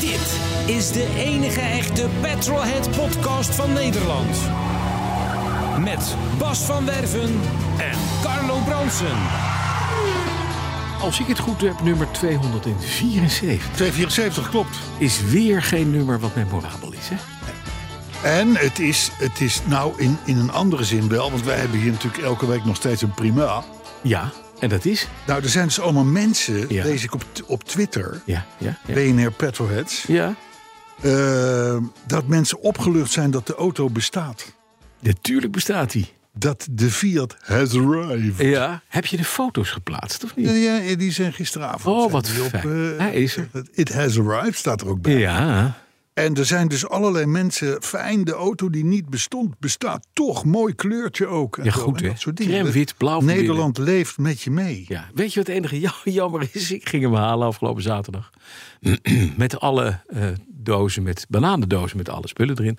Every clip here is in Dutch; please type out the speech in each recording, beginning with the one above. Dit is de enige echte Petrolhead podcast van Nederland. Met Bas van Werven en Carlo Bronsen. Als ik het goed heb, nummer 274 274 klopt. is weer geen nummer wat memorabel is. Hè? En het is, het is nou in, in een andere zin wel, want wij hebben hier natuurlijk elke week nog steeds een prima. Ja, en dat is? Nou, er zijn dus allemaal mensen, Ja. lees ik op, t- op Twitter, Ja, ja, ja. BNR Petrolheads, Ja, eh, dat mensen opgelucht zijn dat de auto bestaat. natuurlijk bestaat die. Dat de Fiat has arrived. Ja. Heb je de foto's geplaatst of niet? Ja, ja, die zijn gisteravond. Oh, zijn wat die fijn. eh, Hij is er. It has arrived staat er ook bij. Ja, En er zijn dus allerlei mensen. Fijn, de auto die niet bestond, bestaat toch. Mooi kleurtje ook. En Ja, zo, goed, en hè? dat soort dingen. Crème, wit, blauw van Nederland leeft met je mee. ja. Weet je wat het enige ja- jammer is? Ik ging hem halen afgelopen zaterdag. Met alle eh, dozen, met bananendozen, met alle spullen erin.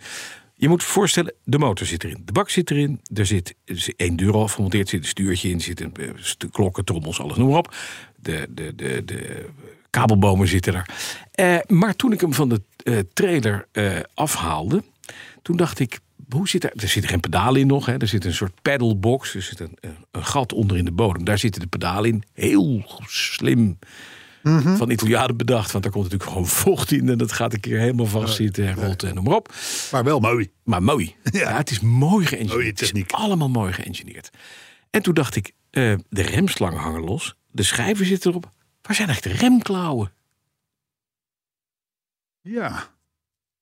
Je moet je voorstellen, de motor zit erin, de bak zit erin, er zit er zit één deur al gemonteerd, zit een stuurtje in, zitten eh, stu- klokken, trommels, alles noem maar op. De, de, de, de kabelbomen zitten er. Eh, maar toen ik hem van de eh, trailer eh, afhaalde, toen dacht ik, hoe zit er, er zitten geen pedalen in nog, hè? er zit een soort pedalbox, er zit een, een- een gat onder in de bodem, daar zitten de pedalen in, heel slim Mhm. van Italianen bedacht. Want daar komt natuurlijk gewoon vocht in. En dat gaat een keer helemaal vastzitten en rolt en noem maar op. Maar wel mooi. Maar mooi. Ja. het is mooi geëngineerd. Mooie Het is techniek. allemaal mooi geëngineerd. En toen dacht ik, eh, de remslangen hangen los. De schijven zitten erop. Waar zijn echt de remklauwen? Ja.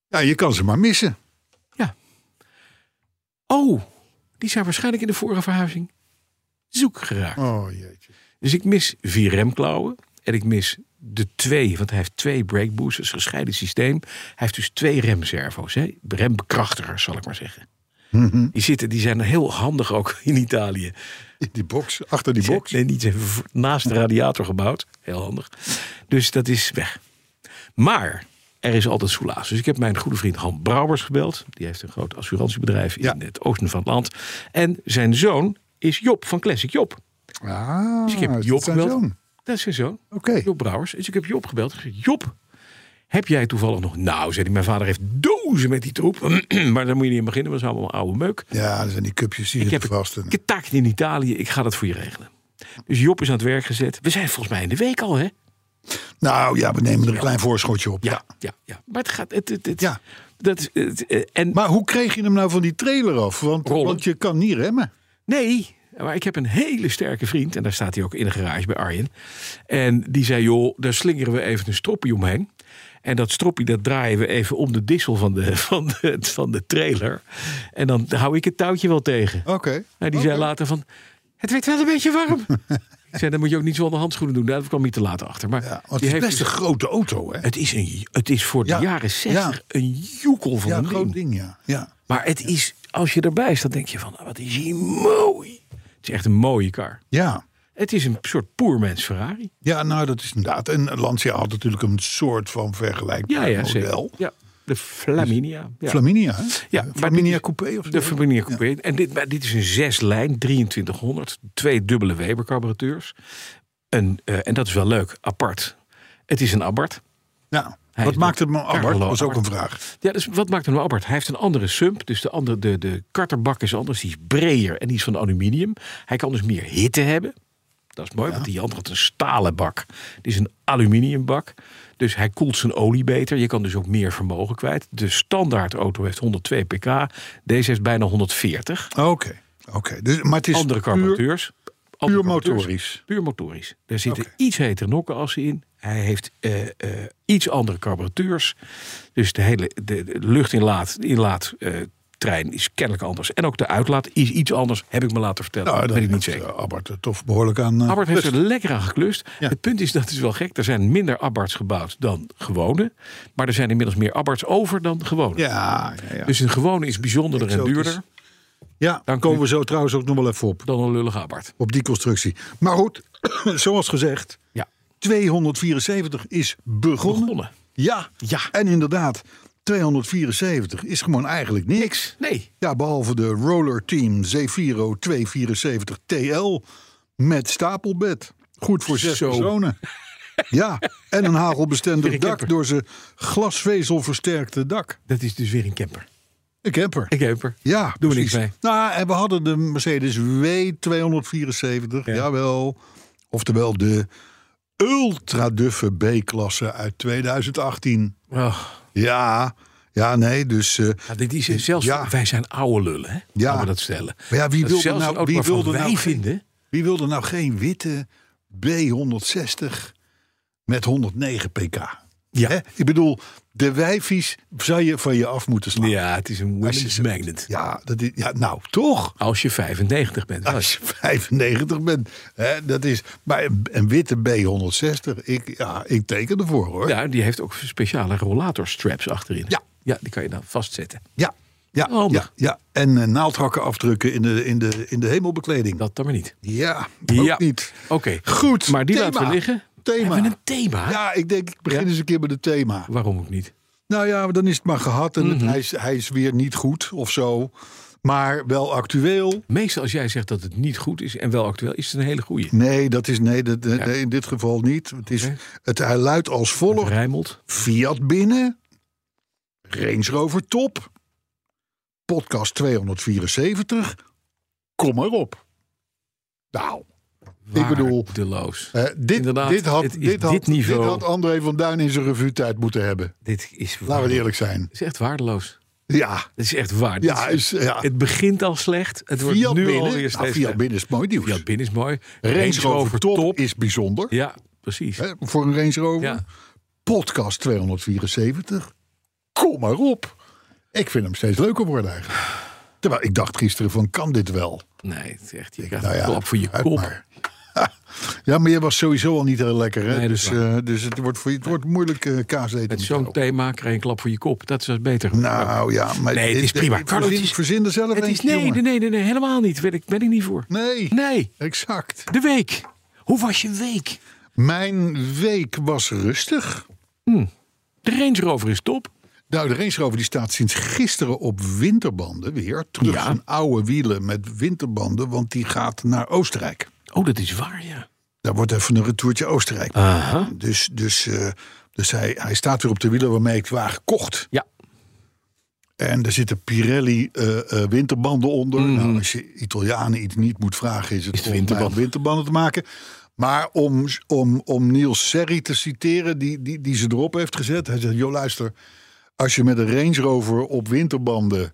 Ja, je kan ze maar missen. Oh, die zijn waarschijnlijk in de vorige verhuizing zoek geraakt. Oh jeetje. Dus ik mis vier remklauwen. En ik mis de twee, want hij heeft twee brake boosters, gescheiden systeem. Hij heeft dus twee remservo's, hè? rembekrachtigers zal ik maar zeggen. Die, zitten, die zijn heel handig ook in Italië. In die box, achter die box. Nee, niet v- naast de radiator gebouwd. Heel handig. Dus dat is weg. Maar er is altijd soelaas. Dus ik heb mijn goede vriend Han Brouwers gebeld. Die heeft een groot assurantiebedrijf Ja. in het oosten van het land. En zijn zoon is Job van Classic Job. Ah, Dus ik heb dat Job is zijn gebeld. zoon. Dat is zijn zoon. Oké. Job Brouwers. Dus ik heb Job gebeld. Ik zeg, Job, heb jij toevallig nog... Nou, zei hij, mijn vader heeft dozen met die troep. maar daar moet je niet aan beginnen, want dat is allemaal oude meuk. Ja, dat zijn die cupjes die Ik zitten heb vast. En- een taak in Italië. Ik ga dat voor je regelen. Dus Job is aan het werk gezet. We zijn volgens mij in de week al, hè? Nou ja, we nemen er een klein voorschotje op. ja. ja, ja. Maar het gaat... Het, het, het- Ja. Dat is, het, eh, en Maar hoe kreeg je hem nou van die trailer af? Want, Rollen. want je kan niet remmen. Nee, maar ik heb een hele sterke vriend. En daar staat hij ook in een garage bij Arjen. En die zei, joh, daar slingeren we even een stroppie omheen. En dat stroppie, dat draaien we even om de dissel van de, van de, van de trailer. En dan hou ik het touwtje wel tegen. Oké. Nou, die zei later van, het werd wel een beetje warm. ik zei, dan moet je ook niet zonder handschoenen doen. Nou, dat kwam niet te laat achter. Maar Ja, want het die is heeft best een dus- grote auto, hè? het, is een, het is voor Ja, de jaren zestig ja. een joekel van ja, een een groot ding. ding, ja. ja. Maar het is, als je erbij staat, denk je van, ah, wat is hier mooi. Het is echt een mooie kar. Ja. Het is een soort poermens Ferrari. Ja, nou, dat is inderdaad. En Lancia had natuurlijk een soort van vergelijkbaar model. Dus Ja, de Flaminia. Ja. Flaminia, hè? Eh, Ja, maar dit Flaminia is- Coupé of zo. De Flaminia Coupé. En dit, maar dit is een zeslijn, 2300. Twee dubbele Weber carburateurs. Een, eh, en dat is wel leuk, apart. Het is een Abarth. Ja. Hij Nou, Wat is maakt het met me Abarth? Carlo Dat was ook een Abarth. vraag. Ja, dus wat maakt hem nou apart? Hij heeft een andere sump, dus de, andere, de, de karterbak is anders. Die is breder en die is van aluminium. Hij kan dus meer hitte hebben. Dat is mooi, want die andere had een stalen bak. Dit is een aluminiumbak. Dus hij koelt zijn olie beter. Je kan dus ook meer vermogen kwijt. De standaard auto heeft 102 pk. Deze heeft bijna 140. Oké. Oké, dus, maar het is Andere puur, carburateurs. andere carburateurs. motorisch. Puur motorisch. Daar zitten Oké. iets hetere nokkenassen in. Hij heeft eh, eh, iets andere carburateurs. Dus de hele de, de luchtinlaat inlaat, eh, trein is kennelijk anders. En ook de uitlaat is iets anders, heb ik me laten vertellen. Nou, dat weet ik niet zeker. eh, Albert er toch behoorlijk aan. eh, Abarth heeft er lust. lekker aan geklust. Ja. Het punt is, dat is wel gek. Er zijn minder Abarths gebouwd dan gewone. Maar er zijn inmiddels meer Abarths over dan gewone. ja, ja, ja. Dus een gewone is bijzonderder en Exotisch. duurder ja, dan dank komen u. we zo trouwens ook nog wel even op. dan een lullige Abarth. Op die constructie. Maar goed, zoals gezegd, Ja. 274 is begonnen. Begonnen. Ja. Ja. en inderdaad, 274 is gewoon eigenlijk niks. Nee. Ja, behalve de Roller Team Zefiro 274 TL met stapelbed. Goed voor zes Zo. personen. Ja, en een hagelbestendig Weer een dak camper. door zijn glasvezel versterkte dak. Dat is dus weer een camper. Een camper. Een camper. Ja, Doen we precies. niks Nou, en we hadden de Mercedes W274, jawel. Oftewel de ultraduffe B-klasse uit 2018. Oh, Ja, ja, nee, dus... eh, ja, dit is zelfs, Ja. wij zijn oude lullen, hè? Ja. Laten we dat stellen. Maar ja, wie Dat wilde zelfs nou- een auto wie waarvan wilde nou wij geen- vinden... Wie wilde nou geen witte B160 met 109 pk? Ja. Hè? Ik bedoel, de wijfies zou je van je af moeten slaan. Ja, het is een women's magnet. Ja, dat is, ja nou toch. Als je 95 bent. wel. Als je 95 bent. Hè, dat is, maar een, een witte B160, ik, ja, ik teken ervoor hoor. Ja, die heeft ook speciale rollatorstraps achterin. Ja. Ja, die kan je dan vastzetten. ja, ja, ja, Handig. ja. En eh, naaldhakken afdrukken in de, in de, in de hemelbekleding. Dat dan maar niet. ja, ook Ja. niet. Oké. Goed, Maar die thema. laten we liggen. Thema. Hebben we een thema? Ja, ik denk, ik begin Ja? eens een keer met het thema. Waarom ook niet? Nou ja, dan is het maar gehad. En het- Mhm. hij, is, hij is weer niet goed of zo. Maar wel actueel. Meestal als jij zegt dat het niet goed is en wel actueel, is het een hele goeie. Nee, dat is, nee, dat, eh, nee, in dit geval niet. Het, is, Oké. het hij luidt als volgt. Rijmelt. Fiat binnen. Range Rover top. Podcast 274. Kom maar op. Nou, ik bedoel... Waardeloos. eh, dit, Inderdaad, dit, had, het is dit, had, dit niveau. dit had André van Duin in zijn revue-tijd moeten hebben. Dit is, Laten we waardeloos. eerlijk zijn. Het is echt waardeloos. Ja, Het is echt waar. ja, Dit is, ja. Ah. het begint al slecht. Het wordt Fiat nu binnen. alweer Nou, steeds Fiat slechter. binnen is mooi nieuws. Fiat binnen is mooi. Range Rover top, is bijzonder. Ja, precies. Hè, voor een Range Rover. Ja. Podcast 274. Kom maar op. Ik vind hem steeds leuker worden eigenlijk. Terwijl ik dacht gisteren van kan dit wel? Nee, het is echt, je Ik, krijgt nou ja, een klap voor je uit kop. maar. Ja, maar je was sowieso al niet heel lekker. Hè? Nee, dat is dus, eh, dus het wordt, voor je, het wordt moeilijk eh kaas eten. Met met zo'n jou. thema krijg je een klap voor je kop. Dat is wel beter. Nou ja, maar Nee, het is prima. Carlo, het Verzin, is- verzin er zelf het is, eentje, nee, jongen. nee, nee, nee, helemaal niet. Ben ik, ben ik niet voor. nee. Nee, Exact. de week. Hoe was je week? Mijn week was rustig. De Range Rover is top. Nou, de Range Rover die staat sinds gisteren op winterbanden weer. Terug Ja. zijn oude wielen met winterbanden, want die gaat naar Oostenrijk. Oh, dat is waar, ja. Daar wordt even een retourtje Oostenrijk. Aha. Dus, dus, eh, dus hij, hij staat weer op de wielen waarmee ik het wagen kocht. Ja, En er zitten Pirelli eh, eh, winterbanden onder. Nou, als je Italianen iets niet moet vragen, is het, Mhm. het volgens mij winterband. om winterbanden te maken. Maar om, om, om Niels Serri te citeren, die, die, die ze erop heeft gezet. Hij zegt, joh luister, als je met een Range Rover op winterbanden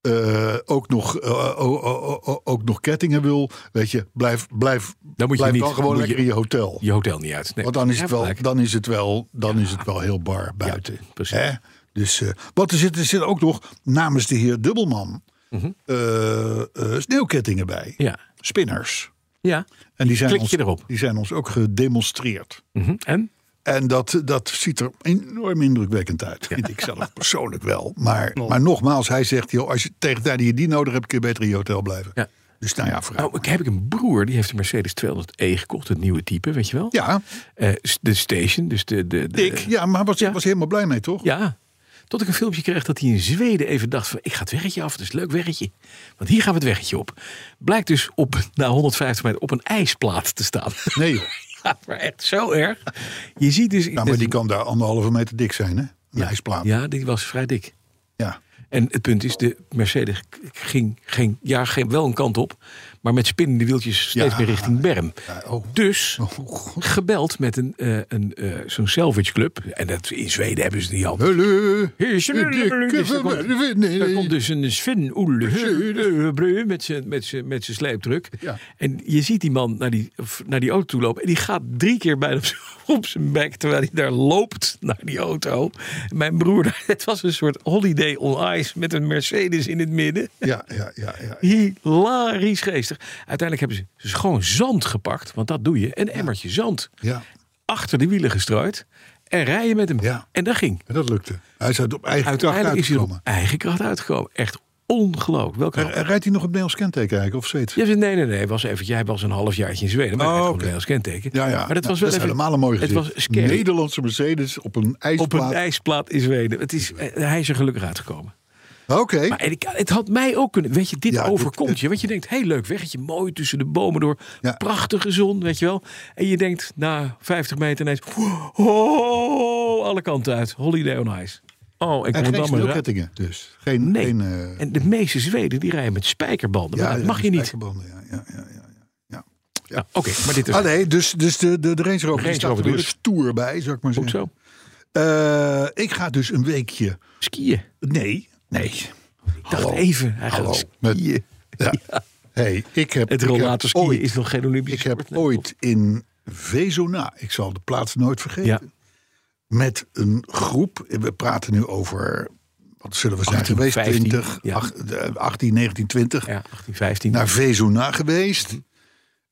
eh, ook, nog, eh, o- o- o- ook nog kettingen wil, weet je, blijf, blijf, Dan moet je blijf niet- dan gewoon moet lekker je- in je hotel. je hotel niet uit. Nee, Want dan is het ja, wel, gelijk. dan is het wel, dan is het wel heel bar buiten. Ja, precies. Hè? Dus, eh, want er zitten zit ook nog namens de heer Dubbelman eh, eh, sneeuwkettingen bij. Mhm. Ja. Spinners. ja. En die zijn, Klik ons, je erop. die zijn ons ook gedemonstreerd. Mhm. En? En dat, dat ziet er enorm indrukwekkend uit. Vind ik zelf persoonlijk wel. Maar, maar nogmaals, hij zegt: joh, als je tegen de tijd dat je die nodig hebt, kun je beter in je hotel blijven. Ja. Dus nou ja, vooruit. Nou, ik heb ik een broer, die heeft een Mercedes 200e gekocht. Het nieuwe type, weet je wel? ja, Eh, s- de station, dus de... de, de ik. Ja, maar was, ja. was helemaal blij mee, toch? Ja. Tot ik een filmpje kreeg dat hij in Zweden even dacht van... ik ga het weggetje af, het is een leuk weggetje. Want hier gaan we het weggetje op. Blijkt dus op, na 150 meter op een ijsplaat te staan. Nee, joh. Ja, maar echt zo erg. Je ziet dus... Nou, maar die kan daar anderhalve meter dik zijn, hè? Een Ja. ijsplaat. Ja, die was vrij dik. Ja. En het punt is, de Mercedes ging, ging ja, ging wel een kant op. maar met spinnende wieltjes steeds Ja. meer richting Berm. oh. Dus Oh, gebeld met een, eh, een, eh, zo'n salvage club. En dat, in Zweden hebben ze die al. Hallo. Dus Eh, daar komt- daar komt dus een Sven Oele met zijn met zijn- met zijn sleepdruk. Ja. En je ziet die man naar die, of naar die auto toe lopen. En die gaat drie keer bijna op zijn- op zijn bek. Terwijl hij daar loopt naar die auto. Mijn broer, het was een soort holiday on ice met een Mercedes in het midden. Ja, ja, ja, ja. Hilarisch geestig. Uiteindelijk hebben ze dus gewoon zand gepakt. Want dat doe je. Een emmertje zand. ja. Achter de wielen gestrooid. En rijden met hem. Ja. En dat ging. En dat lukte. Hij is uit op eigen kracht Uiteindelijk is hij er op uitgekomen. eigen kracht uitgekomen. Echt ongelooflijk. Welke Er- er Rijdt hij nog op Nederlands kenteken eigenlijk, of steeds? ja, nee, nee, nee. hij Was even, jij was een halfjaartje in Zweden. Maar Oh, oh, oké. als kenteken. Ja, ja. Maar dat Ja, was wel is even, helemaal een mooi Het gezicht. was scary. Nederlandse Mercedes op een Op een ijsplaat. ijsplaat in Zweden. Het is, eh, hij is er gelukkig uitgekomen. Oké. Maar ik- het had mij ook kunnen. Weet je, dit Ja, dit- overkomt dit- je. Want je denkt, heel leuk weggetje, mooi tussen de bomen door. Ja. Prachtige zon, weet je wel. En je denkt na 50 meter ineens, oh, alle kanten uit. Holiday on ice. Oh, en En geen Rotterdam maar. sneeuwkettingen dus. Geen, Nee. geen, eh, En de meeste Zweden die rijden met spijkerbanden. maar dat mag je niet. spijkerbanden, Ja, ja, ja, ja, ja. Nou, Oké, maar dit is Ah nee, dus, dus de, de, de Range Rover die Range staat Rover er weer dus. stoer bij, zou ik maar goed zeggen. zo. Eh, ik ga dus een weekje... Skiën. Nee, nee. Ik dacht even, hij gaat Hallo. skiën. Met, ja. Hey, ik heb, Het ik heb rollator skiën ooit- is nog geen Olympische Ik heb sport, nee. ooit in Vezona, ik zal de plaats nooit vergeten, Ja. met een groep, we praten nu over, wat zullen we zijn 18, geweest, 15, 20, ja. acht- eh, 18, 19, 20, Ja, 1815. naar Vezona geweest.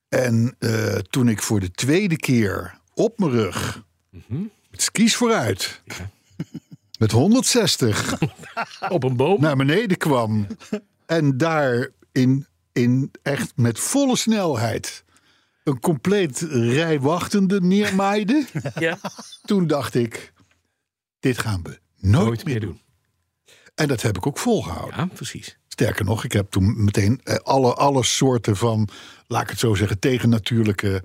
En eh, toen ik voor de tweede keer op mijn rug, Mhm. met skis vooruit, met 160 op een boom. naar beneden kwam. En daar in, in echt met volle snelheid een compleet rij wachtende neermaaide. ja. Toen dacht ik, dit gaan we nooit, Nooit meer meer doen. doen. En dat heb ik ook volgehouden. Ja, precies. Sterker nog, ik heb toen meteen eh, alle, alle soorten van, laat ik het zo zeggen, tegennatuurlijke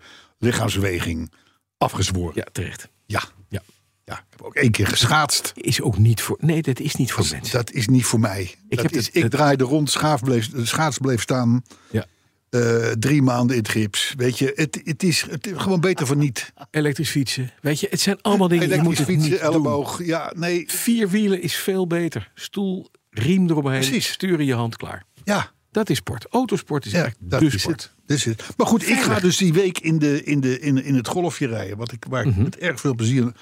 lichaamsweging afgezworen. Ja, terecht. Ja. Ja. Ja, ik heb ook één keer geschaatst. Is ook niet voor. Nee, dat is niet voor Dat, mensen. dat is niet voor mij. Ik, heb is, dit- ik dat- draaide rond, schaaf bleef, de schaats bleef staan. Ja. Eh, drie maanden in het gips. Weet je, het, het is het, is gewoon beter van niet. Elektrisch fietsen. Weet je, het zijn allemaal dingen die Elektrisch moeten fietsen, niet doen. elleboog. Ja, nee. Vier wielen is veel beter. Stoel, riem eromheen. Precies. Stuur in je hand klaar. Ja, Dat is sport. Autosport is ja echt dat de is sport. het. Dat is het. Maar goed, ik ga dus die week in, de, in, de, in, in het golfje rijden. Wat ik, waar ik Mhm. met erg veel plezier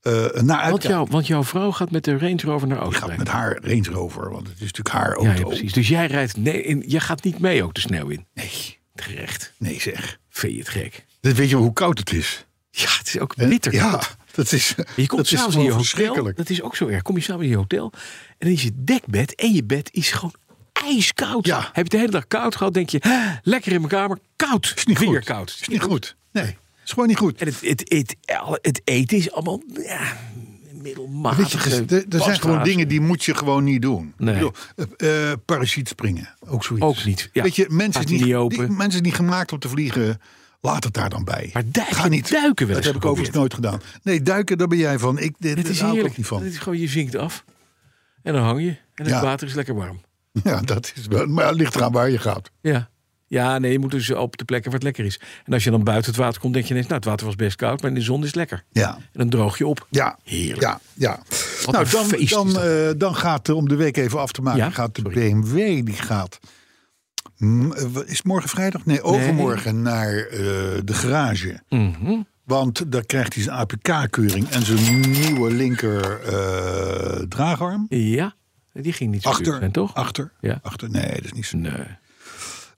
eh naar Want, uitkijk. jouw, want jouw vrouw gaat met de Range Rover naar Ik ga Oostenrijk. met haar Range Rover, want het is natuurlijk haar auto. Ja, ja, precies. Dus jij rijdt. Nee, in, jij gaat niet mee ook de sneeuw in. Nee. Terecht. Nee zeg. Vind je het gek? Dit weet je wel hoe koud het is. Ja, het is ook En- bitter. Eh, Ja, dat is, Je komt dat is s'avonds in je gewoon hotel. verschrikkelijk. Dat is ook zo erg. Kom je s'avonds in je hotel en dan is je dekbed en je bed is gewoon ijskoud. Ja. Heb je het de hele dag koud gehad, denk je, "Hè, lekker in mijn kamer, koud. Is niet Weer goed. koud. Is niet goed. Nee, is gewoon niet goed. En het, het, het, het eten is allemaal ja, Weet middelmatig. je, dus er- er, zijn gewoon dingen die moet je gewoon niet doen. Nee. Ik bedoel, eh, eh, parachute springen, ook zoiets. Ook niet, ja. Weet je, mensen Gaat niet, die niet die- open? mensen niet gemaakt om te vliegen, laat het daar dan bij. Maar duiken- Ga niet. duiken wel Dat eens heb ik overigens nooit gedaan. Nee, duiken, daar ben jij van. Ik, dit, Het is hou ik ook heerlijk. niet Het van. is gewoon, je zinkt af en dan hang je en het Ja. water is lekker warm. Ja, dat is wel. Maar het ligt eraan waar je gaat. Ja. Ja, nee, je moet dus op de plekken waar het lekker is. En als je dan buiten het water komt, denk je ineens... nou, het water was best koud, maar in de zon is het lekker. Ja. En dan droog je op. Ja, Heerlijk. ja, ja. Wat nou, een dan, feest is dan, dat. eh, dan gaat, eh, om de week even af te maken, Ja, gaat de sorry. BMW, die gaat, mm, eh, wa- is morgen vrijdag? Nee, overmorgen naar eh, de garage. Mhm. Want daar krijgt hij zijn APK-keuring en zijn nieuwe linker eh, draagarm. Ja, die ging niet zo duur Achter, zijn, toch? achter, Ja. eh, achter. Nee, dat is niet zo. Nee.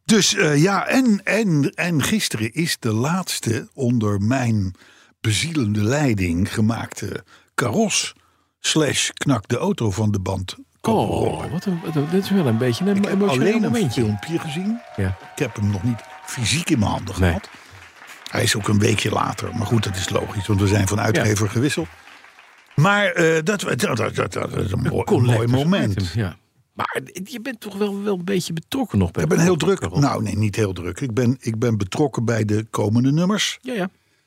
Dus eh, ja, en, en, en gisteren is de laatste onder mijn bezielende leiding gemaakte karos slash knak de auto van de band. komen rollen. Oh, wat een, wat een- dit is wel een beetje een ik heb emotioneel alleen een momentje. filmpje gezien. Ja. Ik heb hem nog niet fysiek in mijn handen Nee. gehad. Hij is ook een weekje later. Maar goed, dat is logisch, want we zijn van uitgever gewisseld. Maar eh, dat, dat, dat, dat, dat is een mooi, mooi Collectors moment. item, ja. Maar je bent toch wel, wel een beetje betrokken nog bij Ik de ben heel Rotterdam druk. Rotterdam. Nou, nee, niet heel druk. Ik ben, ik ben betrokken bij de komende nummers. Ja, ja.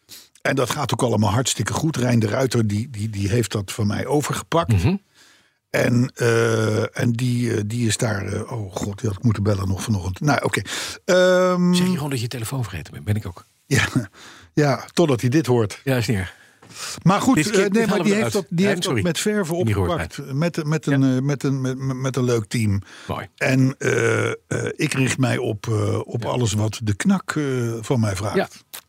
Mhm. En dat gaat ook allemaal hartstikke goed. Rijn de Ruiter die, die, die heeft dat van mij overgepakt. En, eh, en die, eh, die is daar. eh, oh god, die had ik moeten bellen nog vanochtend. Nou, oké. Ehm, Zeg je gewoon dat je telefoon vergeten bent? Ben ik ook. ja, ja, totdat hij dit hoort. Ja, is niet erg. Maar goed, Dit- eh, dit nee, halen maar we die eruit. heeft dat, die Nee, heeft dat sorry. met verven Niet gehoord, opgepakt. Met, met, een, eh, met, een, met, met een leuk team. Mooi. En eh, eh, ik richt mij op, eh, op alles wat de knak eh, van mij vraagt. Ja. Dus-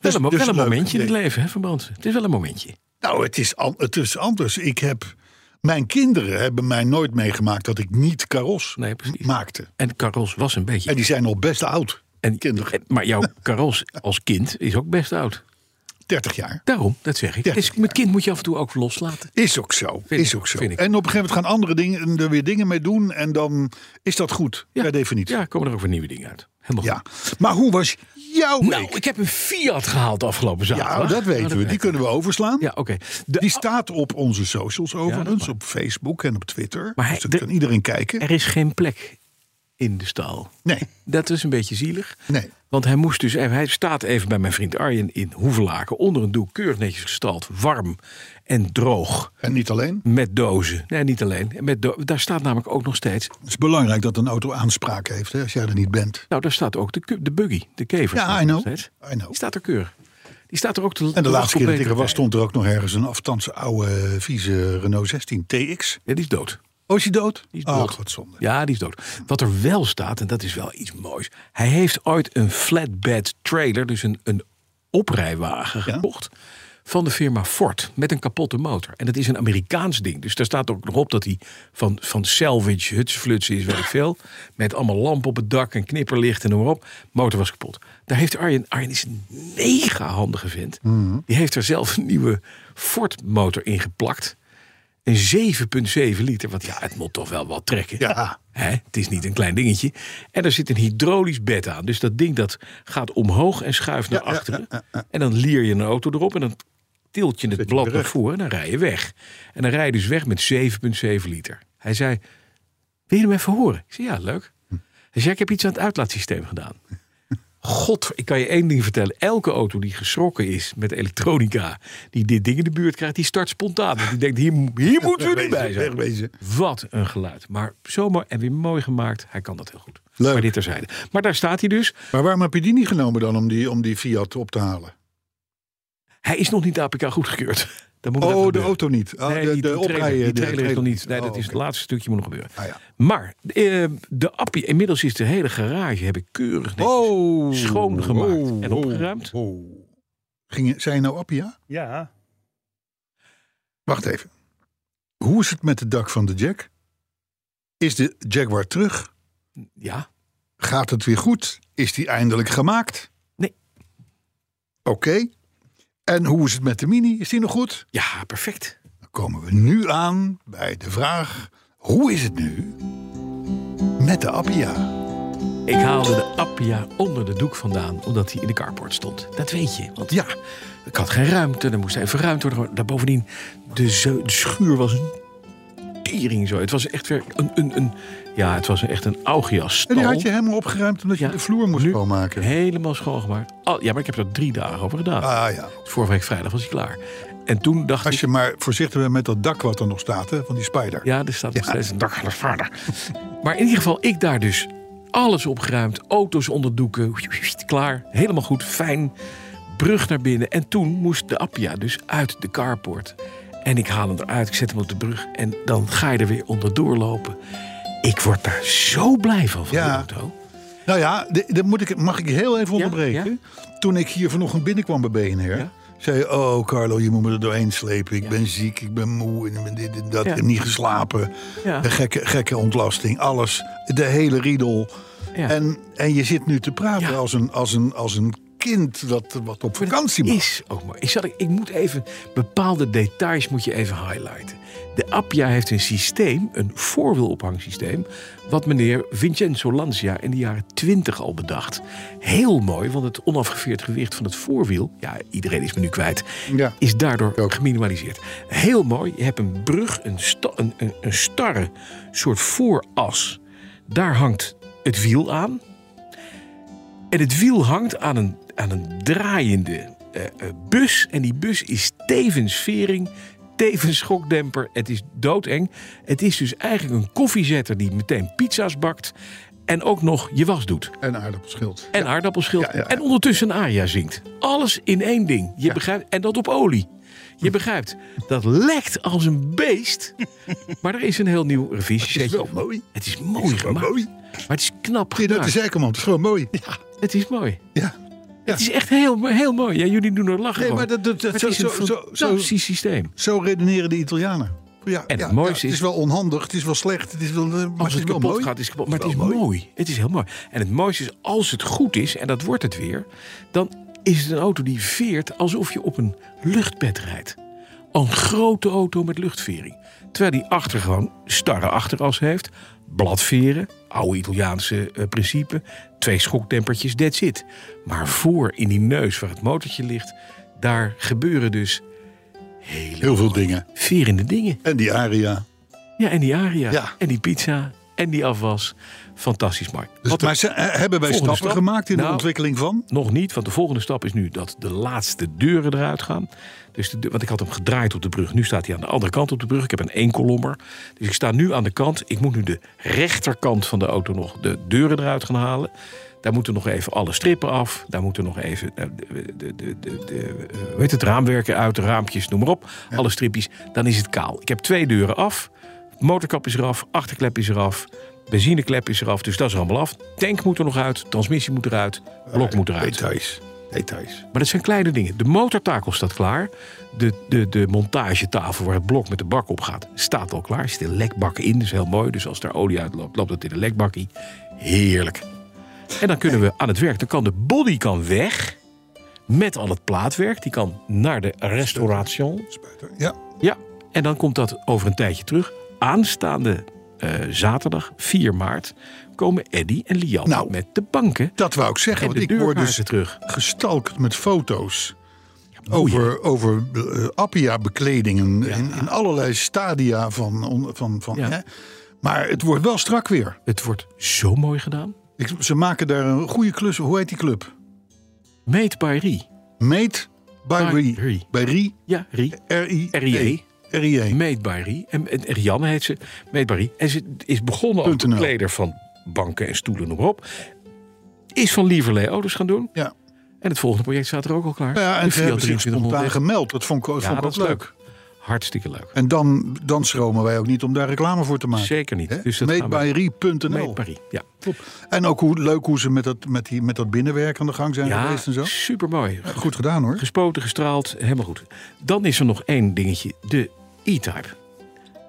wel een, mo- dus wel een leuk momentje in het idee. leven, hè, Van Brandsen? Het is wel een momentje. Nou, het is, an- het is anders. Ik heb, mijn kinderen hebben mij nooit meegemaakt dat ik niet karos Nee, precies. maakte. En Carols was een beetje. En die zijn al best oud. en, kinderen. en- maar jouw Carols als kind is ook best oud. 30 jaar. Daarom, dat zeg ik. Ja. Dus met kind moet je af en toe ook loslaten. Is ook zo. Vind is ik, ook zo. vind ik. En op een gegeven moment gaan andere dingen er weer dingen mee doen. En dan is dat goed. Ja. Per definitie. Ja, komen er ook weer nieuwe dingen uit. Helemaal Ja. goed. Maar hoe was jouw Nou, week? ik heb een Fiat gehaald afgelopen zaterdag. Ja, dat weten Nou, we. Die kunnen we overslaan. Ja, oké. De- Die staat op onze socials dat overigens. op Facebook en op Twitter. Maar hij- dus dat de- kan iedereen kijken. Oh, Er is geen plek in de stal. Nee, Dat is een beetje zielig. nee. Want hij moest dus even, hij staat even bij mijn vriend Arjen in Hoevelaken. Onder een doek, keurig netjes gestald, warm en droog. En niet alleen. Met dozen. Nee, niet alleen. Met do- daar staat namelijk ook nog steeds. Het is belangrijk dat een auto aanspraak heeft hè, als jij er niet bent. Nou, daar staat ook de, ku- de buggy, de kever. staat Ja, I er nog know. steeds. I know. Die staat er keurig. Die staat er ook te En de te laatste keer dat ik lachen er op was, beter. stond er ook nog ergens een aftandse oude, vieze Renault 16 TX. Ja, die is dood. Oh, is hij dood? Die is Ach, dood. wat zonde. Ja, die is dood. Wat er wel staat, en dat is wel iets moois. Hij heeft ooit een flatbed trailer, dus een, een oprijwagen Ja. gekocht. Van de firma Ford. Met een kapotte motor. En dat is een Amerikaans ding. Dus daar staat ook nog op dat hij van, van salvage hutsfluts is, weet ik veel. Met allemaal lampen op het dak en knipperlicht en noem maar op. Motor was kapot. Daar heeft Arjen, Arjen is een mega handige vent. Mhm. Die heeft er zelf een nieuwe Ford motor in geplakt. Een 7,7 liter. Want ja, het moet toch wel wat trekken. Ja. Hè? Het is niet een klein dingetje. En er zit een hydraulisch bed aan. Dus dat ding dat gaat omhoog en schuift naar achteren. En dan lier je een auto erop en dan tilt je het blad naar voren en dan rij je weg. En dan rij je dus weg met 7,7 liter. Hij zei, wil je hem even horen? Ik zei, ja, leuk. Hm. Hij zei, ik heb iets aan het uitlaatsysteem gedaan. God, ik kan je één ding vertellen. Elke auto die geschrokken is met elektronica, die dit ding in de buurt krijgt, die start spontaan. Want die denkt, hier, hier moeten we niet bij zijn. Wegwezen. Wat een geluid. Maar zomaar en weer mooi gemaakt. Hij kan dat heel goed. Leuk. Maar dit terzijde. Maar daar staat hij dus. Maar waarom heb je die niet genomen dan om die, om die Fiat op te halen? Hij is nog niet de APK goedgekeurd. Dat moet nog even Oh, de gebeuren. auto niet. Ah, Nee, de, die, de die trailer, oprijden. die de trailer is nog trailer. niet. Nee, dat Oh, is oké. het laatste stukje moet nog gebeuren. Ah, ja. Maar eh, de appie, inmiddels is de hele garage heb ik keurig netjes Oh, schoongemaakt oh, en opgeruimd. Oh, oh. Ging, je- zei je nou Appia? Ja. Wacht even. Hoe is het met het dak van de Jack? Is de Jaguar terug? Ja, Gaat het weer goed? Is die eindelijk gemaakt? Nee. Oké. En hoe is het met de Mini? Is die nog goed? ja, perfect. Dan komen we nu aan bij de vraag: hoe is het nu met de Appia? Ik haalde de Appia onder de doek vandaan, omdat hij in de carport stond. Dat weet je. Want ja, ik had geen ruimte, er moest even ruimte worden. Daarbovendien, de, zo- de schuur was een tering zo. Het was echt weer een... een, een ja, het was echt een augias En die had je helemaal opgeruimd omdat je Oh. Ja, de vloer moest nu- schoonmaken. Helemaal schoongemaakt. Al- ja, maar ik heb er drie dagen over gedaan. Dus Ah ja. Vorige week vrijdag was hij klaar. En toen dacht ik... Als je maar voorzichtig bent met dat dak wat er nog staat, hè, van die spider. Ja, er staat nog steeds een dak aan de vader. Maar in ieder geval, ik daar dus alles opgeruimd. Auto's onder doeken. Klaar. Helemaal goed. Fijn. Brug naar binnen. En toen moest de Appia dus uit de carport. En ik haal hem eruit. Ik zet hem op de brug. En dan ga je er weer onderdoor lopen. Ik word daar zo blij van, van Ja. die auto. Nou ja, de- de moet ik, mag ik heel even Ja, onderbreken? Toen ik hier vanochtend binnenkwam bij BNR... Ja. zei je, oh Carlo, je moet me er doorheen slepen. Ik ben ziek, ik ben moe, en ik ben dit en dat. Ja. Ik heb niet geslapen. Ja. Een Gekke, gekke ontlasting, alles. De hele riedel. Ja. En, en je zit nu te praten Ja. als, een, als, een, als een kind dat, wat op vakantie mag. Is ook mooi. Ik, zat, ik moet even bepaalde details moet je even highlighten. De Appia heeft een systeem, een voorwielophangssysteem, wat meneer Vincenzo Lancia in de jaren 20 al bedacht. Heel mooi, want het onafgeveerd gewicht van het voorwiel, ja, iedereen is me nu kwijt, Ja. is daardoor Ook. geminimaliseerd. Heel mooi, je hebt een brug, een, sta- een, een, een starre soort vooras. Daar hangt het wiel aan. En het wiel hangt aan een, aan een draaiende eh, eh, bus. En die bus is tevens vering, tevens schokdemper. Het is doodeng. Het is dus eigenlijk een koffiezetter die meteen pizza's bakt. En ook nog je was doet. En aardappelschild. En aardappelschild. Ja, ja, ja. En ondertussen een aja zingt. Alles in één ding. Je begrijpt, en dat op olie. Je begrijpt, dat lekt als een beest. Maar er is een heel nieuw revisie. Het is wel mooi. Het is mooi gemaakt. mooi. Maar het is knap Nee, gemaakt. dat is Eikerman. Het is gewoon mooi. Het is mooi. Ja. Het is echt heel, heel mooi. Ja, jullie doen er lachen Nee, van. maar dat, dat, dat- Het zo, is een zo, zo, zo, fantastisch systeem. zo redeneren de Italianen. Ja, het ja, mooiste ja, het is- is wel onhandig, het is wel slecht, het is wel, eh, maar Als het, is wel kapot mooi. gaat, is het kapot. Maar het is wel mooi. Het is heel mooi. En het mooiste is, als het goed is, en dat wordt het weer... dan is het een auto die veert alsof je op een luchtbed rijdt. Een grote auto met luchtvering. Terwijl die achter gewoon starre achteras heeft. Bladveren, oude Italiaanse eh, principe. Twee schokdempertjes, that's it. Maar voor in die neus waar het motortje ligt... daar gebeuren dus Heel veel dingen. verende dingen. En die aria. Dus Ja, en die aria. Ja. En die pizza. En die afwas. Fantastisch, Mark. Dus, Wat maar ze, eh, hebben wij Volgende stappen stap? gemaakt in Nou, de ontwikkeling van? nog niet, want de volgende stap is nu dat de laatste deuren eruit gaan. Dus de, deur- want ik had hem gedraaid op de brug. Nu staat hij aan de andere kant op de brug. Ik heb een eenkolommer. Dus ik sta nu aan de kant. Ik moet nu de rechterkant van de auto nog de deuren eruit gaan halen. Daar moeten nog even alle strippen af. Daar moeten nog even eh, de, de, de, de, de, eh, hoe heet het, raamwerken uit, de raampjes, noem maar op. Alle stripjes. Dan is het kaal. Ik heb twee deuren af. Motorkap is eraf, achterklep is eraf. Benzineklep is eraf, dus dat is er allemaal af. Tank moet er nog uit, transmissie moet eruit, blok moet eruit. Details. Details. Maar dat zijn kleine dingen. De motortakel staat klaar. De, de, de montagetafel waar het blok met de bak op gaat, staat al klaar. Er zitten lekbakken in, dat is heel mooi. Dus als daar olie uitloopt, loopt dat in een lekbakkie. Heerlijk. En dan kunnen we aan het werk. Dan kan de body kan weg. Met al het plaatwerk. Die kan naar de restauration. Ja. Ja, en dan komt dat over een tijdje terug. Aanstaande eh, zaterdag, 4 maart, komen Eddy en Lian Nou. met de banken Dat wou ik zeggen, en want de ik word deurkaarten dus terug. gestalkt met foto's. Over, over eh, Appia-bekledingen in, in allerlei stadia van... on- van, van Ja. hè? Maar het wordt wel strak weer. Het wordt zo mooi gedaan. Ik, ze maken daar een goede klus. Hoe heet die club? Made by Rie. Made by, By Rie. Rie. Bij Rie. Ja, Rie. R-I-E. R.I.E.. R.I.E.. Made by Rie. En, en, en Rianne heet ze. Made by Rie. En ze is begonnen als Punt NL. bekleder van banken en stoelen, noem maar op. Is van Lieverlee auto's gaan doen. Ja, En het volgende project staat er ook al klaar. Nou ja, en De ze hebben zich 2300 spontaan weg. gemeld. Dat vond ik, vond ik Ja, ook dat is leuk. Hartstikke leuk. En dan, dan schromen wij ook niet om daar reclame voor te maken. Zeker niet. Hè? Dus dat gaan we- Made Madebyrie.nl. by Rie. Ja. En ook hoe leuk hoe ze met dat, met die, met dat binnenwerk aan de gang zijn Ja, geweest en zo. supermooi. Goed gedaan hoor. Gespoten, gestraald, helemaal goed. Dan is er nog één dingetje. De E-Type.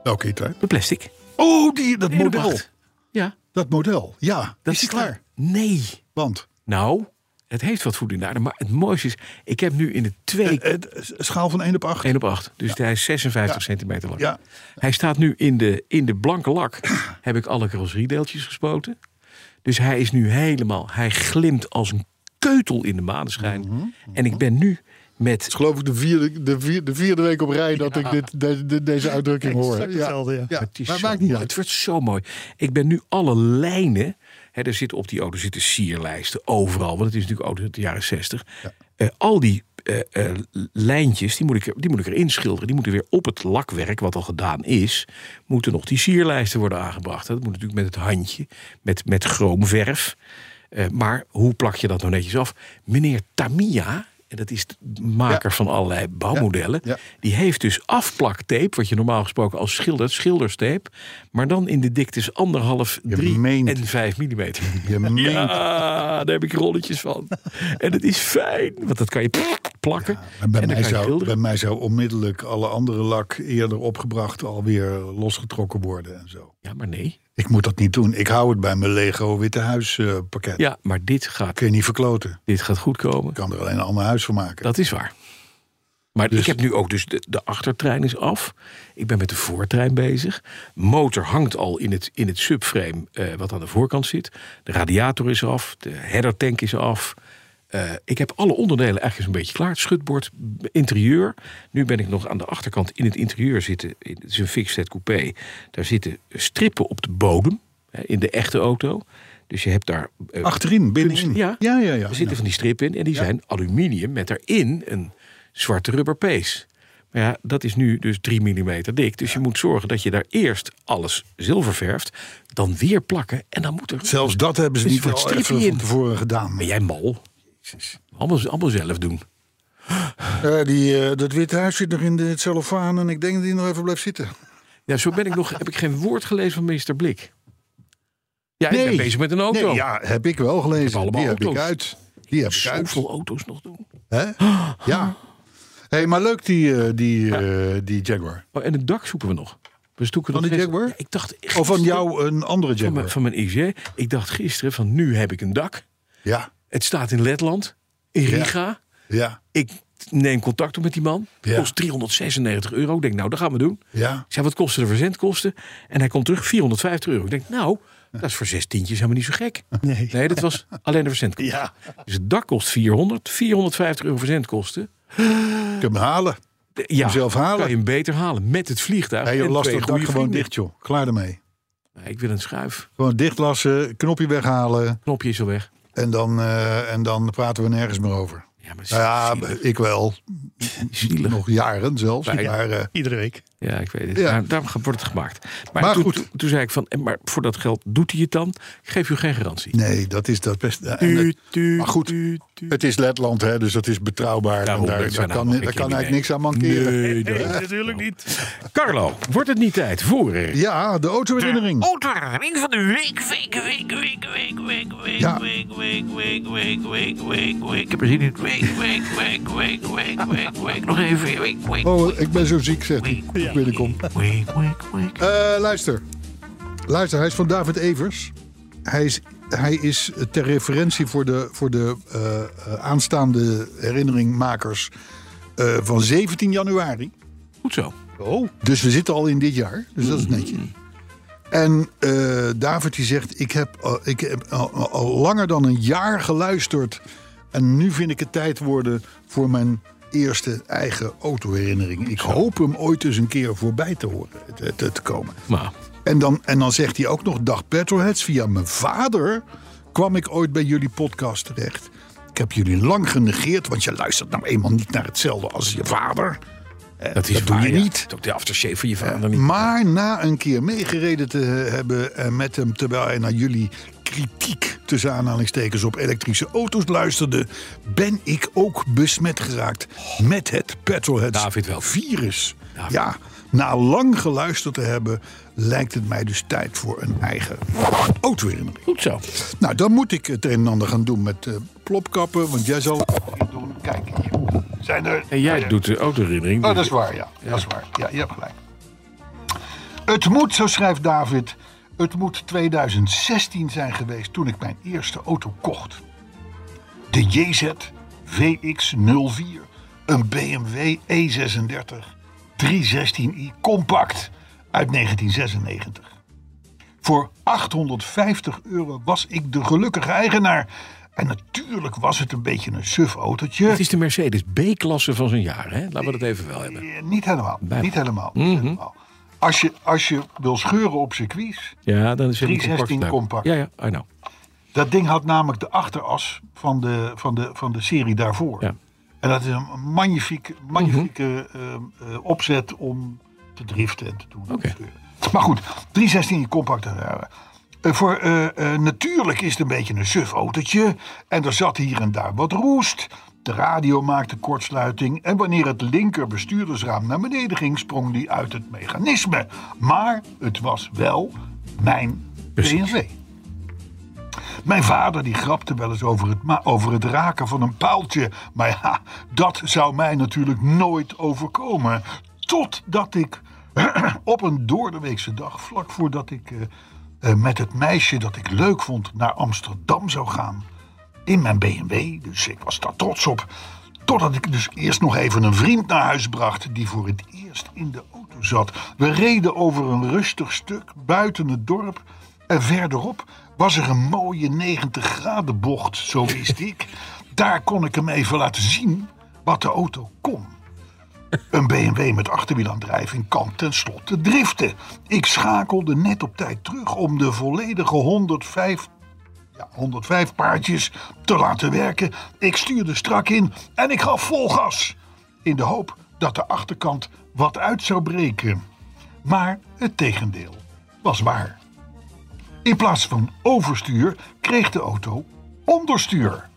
Welke E-Type? De plastic. Oh, die, dat Helemaal model. acht. Ja. Dat model, ja. Dat is die klaar? Nee. Want Nou, het heeft wat voet in de aarde. Maar het mooiste is, ik heb nu in de twee... eh, eh, schaal van 1 op 8. 1 op 8. Dus hij is 56 centimeter lang. Ja. Hij staat nu in de, in de blanke lak. heb ik alle carrosseriedeeltjes gespoten. Dus hij is nu helemaal... Hij glimt als een keutel in de maneschijn. Mhm, En ik ben nu met... geloof ik de vierde, de, vier, de vierde week op rij dat ik dit, de- de- deze uitdrukking hoor. Ja, hetzelfde, ja. ja. Het, is Maar zo maakt niet mooi. uit. het wordt zo mooi. Ik ben nu alle lijnen. Hè, er zitten op die auto zitten sierlijsten overal. Want het is natuurlijk auto uit de jaren 60. Eh, al die eh, eh, lijntjes, die moet, ik, er- die moet ik erin schilderen. Die moeten weer op het lakwerk, wat al gedaan is, moeten nog die sierlijsten worden aangebracht. Dat moet natuurlijk met het handje, met, met chroomverf. Eh, maar hoe plak je dat nou netjes af? Meneer Tamia, en dat is de maker van allerlei bouwmodellen, Ja, ja. die heeft dus afplaktape, wat je normaal gesproken als schildert, schilderstape, maar dan in de diktes anderhalf, Je drie meent. en vijf millimeter. Je meent. Ja, daar heb ik rolletjes van. En het is fijn, want dat kan je plakken. En bij, en dan kan mij je zou, bij schilderen. mij zou onmiddellijk alle andere lak eerder opgebracht alweer losgetrokken worden en zo. Ja, maar nee. Ik moet dat niet doen. Ik hou het bij mijn Lego Witte Huis eh, pakket. Ja, maar dit gaat, Kun je niet verkloten. dit gaat goed komen. Ik kan er alleen een ander huis van maken. Dat is waar. Maar ik heb nu ook dus de, de achtertrein is af. Ik ben met de voortrein bezig. Motor hangt al in het, in het subframe eh, wat aan de voorkant zit. De radiator is af. De headertank is af. Eh, ik heb alle onderdelen eigenlijk een beetje klaar. Het schutbord, b- interieur. Nu ben ik nog aan de achterkant in het interieur zitten. in- Het is een fixed coupé. Daar zitten strippen op de bodem. hè, in de echte auto. Dus je hebt daar... eh, Achterin, binnenin. kunst- ja. ja, ja. Nou. ja. er zitten van die strip in en die zijn aluminium met daarin een zwarte rubberpees. Maar ja, dat is nu dus 3 mm dik. Dus je moet zorgen dat je daar eerst alles zilver verft. Dan weer plakken. En dan moet er... Zelfs dat hebben ze Dus niet voor wel het even stripje van in. tevoren gedaan. Ben jij mal? Allemaal, allemaal zelf doen. Eh, die, eh, dat Witte Huis zit nog in de cellofaan en ik denk dat die nog even blijft zitten. Ja, zo ben ik nog, heb ik geen woord gelezen van minister Blik. Ja, ik ben Nee. bezig met een auto. Nee, ja, heb ik wel gelezen. allemaal die heb auto's. ik uit. Die heb ik uit. Zoveel auto's nog doen. Hè? Ja. hey, maar leuk die, eh, die, eh, die Jaguar. Oh, en het dak zoeken we nog. We zoeken Van nog die steeds- Jaguar? Ja, ik dacht, Of van gisteren- jou een andere Van mijn, Jaguar. van mijn IG. Ik dacht gisteren van nu heb ik een dak. Ja, Het staat in Letland. In Riga. ja, Ik neem contact op met die man. Ja. Kost 396 euro. Ik denk nou, dat gaan we doen. ja. Ik zei, wat kosten de verzendkosten? En hij komt terug, 450 euro. Ik denk, nou, dat is voor zes tientjes helemaal niet zo gek. Nee, dat was alleen de verzendkosten. Ja. Dus het dak kost 400, 450 euro verzendkosten. Ik heb hem halen. De- Ja, zelf halen. kan je hem beter halen met het vliegtuig. Hey, joh, en las twee dat dak goede gewoon vrienden. dicht, joh. Klaar ermee. Nee, ik wil een schuif. Gewoon dicht lassen, knopje weghalen. Knopje is al weg. En dan, eh, en dan praten we nergens meer over. Ja, maar Nou ja, zielig. ik wel. zielig. Nog jaren zelfs. Bij- Maar, eh, Iedere week. Ja, ik weet het. Ja. Daar, daarom wordt het gemaakt. Maar, Maar toen, goed. Toen, toen zei ik van, en maar voor dat geld doet hij het dan? Ik geef u geen garantie. nee, dat is dat best. eh, en het- maar goed, het is Letland, hè, dus dat is betrouwbaar. Daarom, en daar, dat Nou, daar zijn kan, allemaal daar geen kan eigenlijk criminelen. niks aan mankeren. Nee, Nee, dat- natuurlijk niet. Carlo, wordt het niet tijd voor... eh, Ja, de autoherinnering. Autoherinnering van de week, week, week, week, week, week, week, Ja. week, week, week, week, week, week, week. Ik heb er zin in. Week, week, week, week, week, week, week. Nog even. Week, week, week, Oh, ik ben zo ziek, zegt hij. toen Ik binnenkom. week, week, week. Eh, luister. Luister, hij is van David Evers. Hij is, hij is ter referentie voor de, voor de eh, eh, aanstaande herinneringmakers eh, van 17 januari. Goed zo. Dus we zitten al in dit jaar. Dus dat is netjes. En eh, David die zegt, ik heb, eh, ik heb al, al langer dan een jaar geluisterd. En nu vind ik het tijd worden voor mijn eerste eigen autoherinnering. Ik hoop hem ooit eens een keer voorbij te horen, te- te- te komen. Maar En dan, en dan zegt hij ook nog: Dag Petroheads, via mijn vader kwam ik ooit bij jullie podcast terecht. Ik heb jullie lang genegeerd, want je luistert nou eenmaal niet naar hetzelfde als je vader. dat is dat doe waar, je ja. niet. Eh, Het is Ook de aftershave van je vader niet. Maar na een keer meegereden te hebben en met hem, terwijl hij naar jullie kritiek tussen aanhalingstekens op elektrische auto's luisterde, ben ik ook besmet geraakt met het petrolhead David wel. virus. Ja, na lang geluisterd te hebben, lijkt het mij dus tijd voor een eigen autoherinnering. Goed zo. Nou, dan moet ik het een en ander gaan doen met eh, plopkappen, want jij zal het niet doen. Kijk, hier zijn er En jij doet de autoherinnering. Oh, dat is waar, ja. Dat is waar. Ja, je hebt gelijk. Het moet, zo schrijft David, het moet 2016 zijn geweest toen ik mijn eerste auto kocht. De JZ VX04, een BMW E36 316i compact uit 1996. Voor 850 euro was ik de gelukkige eigenaar. En natuurlijk was het een beetje een suf autootje. Het is de Mercedes B-klasse van zijn jaar. Hè? Laten we dat even wel hebben. Eh, Niet helemaal. Bijna. Niet helemaal. niet helemaal. Als, je, als je wil scheuren op circuits. Ja, dan is het een 316 compacte. compact. Ja, ja, I know. Dat ding had namelijk de achteras van de, van de, van de serie daarvoor. Ja. Mhm. En dat is een magnifiek, magnifieke ehm, eh, opzet om te driften en te doen. en te Oké. scheuren. Maar goed, 316 compact. eh, eh, voor, eh, eh, natuurlijk is het een beetje een suf autootje. En er zat hier en daar wat roest. De radio maakte kortsluiting. En wanneer het linker bestuurdersraam naar beneden ging, sprong die uit het mechanisme. Maar het was wel mijn BMW. Mijn vader die grapte wel eens over het, ma- over het raken van een paaltje. Maar ja, dat zou mij natuurlijk nooit overkomen. Totdat ik op een doordeweekse dag, vlak voordat ik eh, eh, met het meisje dat ik leuk vond naar Amsterdam zou gaan. In mijn BMW, dus ik was daar trots op. Totdat ik dus eerst nog even een vriend naar huis bracht die voor het eerst in de auto zat. We reden over een rustig stuk buiten het dorp. En verderop was er een mooie 90 graden bocht, zo wist ik. Daar kon ik hem even laten zien wat de auto kon. Een BMW met achterwielaandrijving kan tenslotte driften. Ik schakelde net op tijd terug om de volledige 105 ja, 105 paardjes te laten werken. Ik stuurde strak in en ik gaf vol gas. In de hoop dat de achterkant wat uit zou breken. Maar het tegendeel was waar. In plaats van overstuur kreeg de auto onderstuur.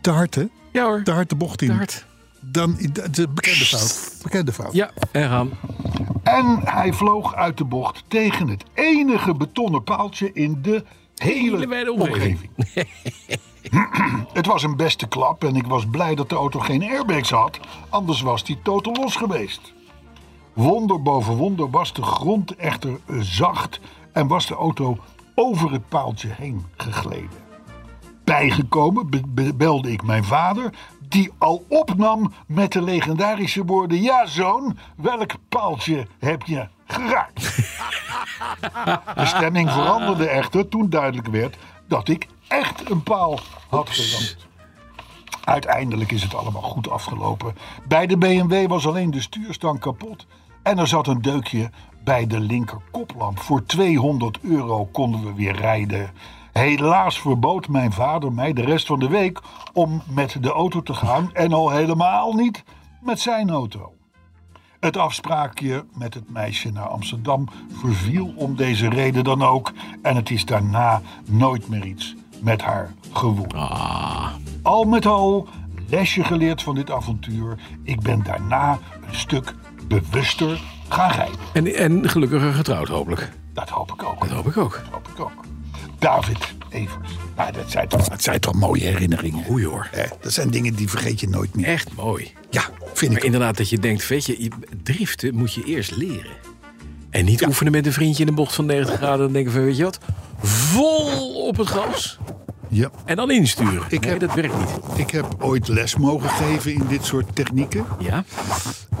Te hard, hè? Ja hoor, Te hard de bocht in. te hard. Dan, de bekende fout. Bekende fout. Ja, en gaan. En hij vloog uit de bocht tegen het enige betonnen paaltje in de hele, Hele wijde omgeving. omgeving. het was een beste klap en ik was blij dat de auto geen airbags had, anders was die totaal los geweest. Wonder boven wonder was de grond echter zacht en was de auto over het paaltje heen gegleden. Bijgekomen be- be- belde ik mijn vader, die al opnam met de legendarische woorden: Ja, zoon, welk paaltje heb je geraakt? de stemming veranderde echter toen duidelijk werd dat ik echt een paal had geraakt. Uiteindelijk is het allemaal goed afgelopen. Bij de BMW was alleen de stuurstang kapot en er zat een deukje bij de linker koplamp. Voor 200 euro konden we weer rijden. Helaas verbood mijn vader mij de rest van de week om met de auto te gaan en al helemaal niet met zijn auto. Het afspraakje met het meisje naar Amsterdam verviel om deze reden dan ook en het is daarna nooit meer iets met haar geworden. Al met al lesje geleerd van dit avontuur. Ik ben daarna een stuk bewuster gaan rijden. En, en gelukkiger getrouwd, hopelijk. Dat hoop ik ook. Dat hoop ik ook. Dat hoop ik ook. David Evers. Nou, dat, zijn toch, dat zijn toch mooie herinneringen. Oei hoor. Hè, dat zijn dingen die vergeet je nooit meer. Echt mooi. Ja, vind Maar ik. inderdaad, dat je denkt, weet je, je- driften moet je eerst leren. En niet oefenen met een vriendje in de bocht van 90 graden. En denken van, weet je wat, vol op het gas. Ja. En dan insturen. Ik nee, heb- dat werkt niet. Ik heb ooit les mogen geven in dit soort technieken. Ja.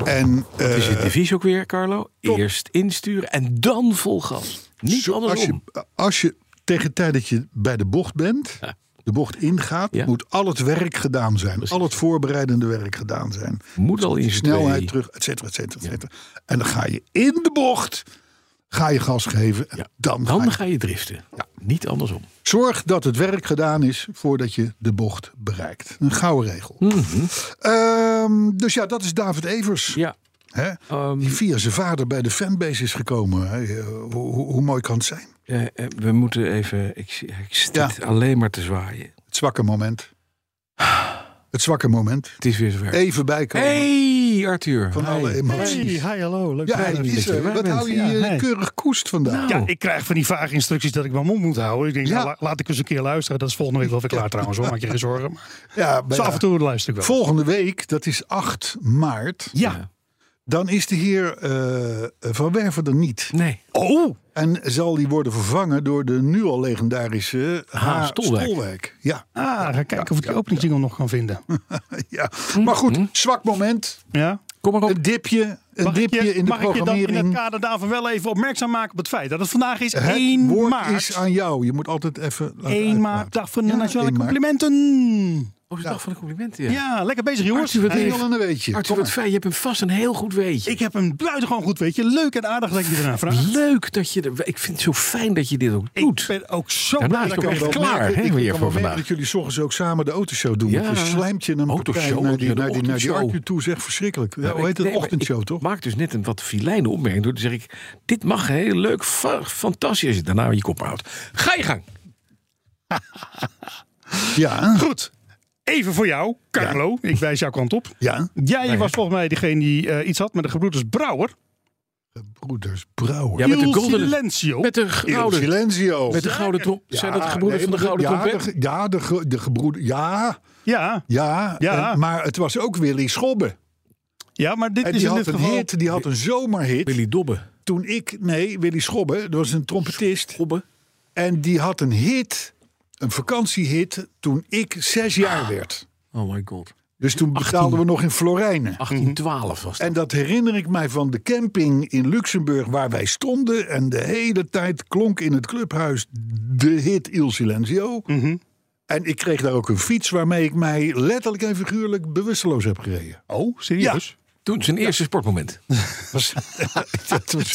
En eh, Is het devies ook weer, Carlo? top. Eerst insturen en dan vol gas. Niet zo- als, je, andersom. als je tegen de tijd dat je bij de bocht bent, de bocht ingaat, Ja. moet al het werk gedaan zijn. Al het voorbereidende werk gedaan zijn. Moet al in z'n snelheid tweeën. terug, et cetera, et cetera, et cetera. En dan ga je in de bocht, ga je gas geven. En Ja. Dan, ga Dan je- ga je driften. Niet andersom. Zorg dat het werk gedaan is voordat je de bocht bereikt. Een gouden regel. Ehm, dus ja, dat is David Evers. Ja. ehm, Hè? die via zijn vader bij de fanbase is gekomen. Hè? Eh, Hoe, hoe, hoe mooi kan het zijn? eh, eh, we moeten even... Ik, zie- ik zit Ja. alleen maar te zwaaien. Het zwakke moment. Het zwakke moment. Het is weer zover. Even bijkomen hey, Arthur. van Hi. alle emoties. Hey, hi, hallo. Leuk Ja, dat je dat er is bent. er. waar Wat bent. hou je Ja, hier hey. keurig koest vandaag? Ja, ik krijg van die vage instructies dat ik mijn mond moet houden. Ik denk, Ja. nou, la- laat ik eens een keer luisteren. Dat is volgende week wel weer klaar trouwens, hoor. Maak je geen zorgen. Maar Ja, zo bijna. af en toe luister ik wel. Volgende week, dat is 8 maart, Ja. dan is de heer eh, Van Werven er niet. Nee. Oh, En zal die worden vervangen door de nu al legendarische H. H. Stolwijk. Stolwijk. Ja, ah, ga kijken of ik die openingsdingel nog kan vinden. ja. Maar goed, zwak moment. Ja. Kom maar op. Hm. Een dipje, een Mag ik dipje je, in de mag ik je dan in het programmering. kader daarvan wel even opmerkzaam maken op het feit dat het vandaag is het 1 woord maart. is aan jou. Je moet altijd even... laten 1 uitpraten. maart, dag van de Ja, nationale 1 maart. complimenten. Oh, is het dag van de complimenten. Ja. Ja, lekker bezig jongens. Arthur, wat Hey, Hey, heeft- Jan en een weetje. Arthur, wat fijn. Je hebt hem vast een heel goed weetje. Ik heb hem buitengewoon goed, weet je. Leuk en aardig dat je ernaar vraagt. Leuk dat je er... Ik vind het zo fijn dat je dit ook Ik doet. ben ook zo Daarna blij is het dat ik ook hem echt heb. klaar, hè, Ik- ik weer kan voor me merken vandaag. dat jullie 's ochtends ook samen de autoshow doen. Ja. Je slijmt je een partij Autoshow, naar die, ja, de naar die, naar die ochtendshow. Arthur toe. Zeg, verschrikkelijk. Ja, hoe heet het? Nee, maar Ochtendshow, ik toch? maak dus net een wat filijne opmerking door te zeggen... ik, dit mag heel leuk, fa- fantastisch als je daarna je kop houdt. Ga je gang. Ja, Goed. Even voor jou, Carlo. Ik wijs jouw kant op. ja. Jij was volgens mij degene die eh, iets had met de gebroeders Brouwer. Broeders Brouwer. Ja, met de Il gouden... Silencio. Oh, Met de Il gouden... Silenzio. Met de gouden trom... Zijn dat de gebroeders nee, van de gouden ja, trompet? de- ja, de, ge- de gebroeder. Ja, Ja, ja. Ja. En- maar het was ook Willy Schobbe. ja, maar dit En is die in had dit een geval... hit, die had een zomerhit. Willy Dobbe. Toen ik, nee, Willy Schobbe, dat was een trompetist. Dobbe. En die had een hit, een vakantiehit, toen ik zes jaar werd. Oh my god. Dus toen betaalden we nog in Florijnen. 1812 was dat. En dat herinner ik mij van de camping in Luxemburg waar wij stonden. En de hele tijd klonk in het clubhuis de hit Il Silenzio. Mhm. En ik kreeg daar ook een fiets waarmee ik mij letterlijk en figuurlijk bewusteloos heb gereden. dus? Oh, serieus? Toen zijn eerste sportmoment.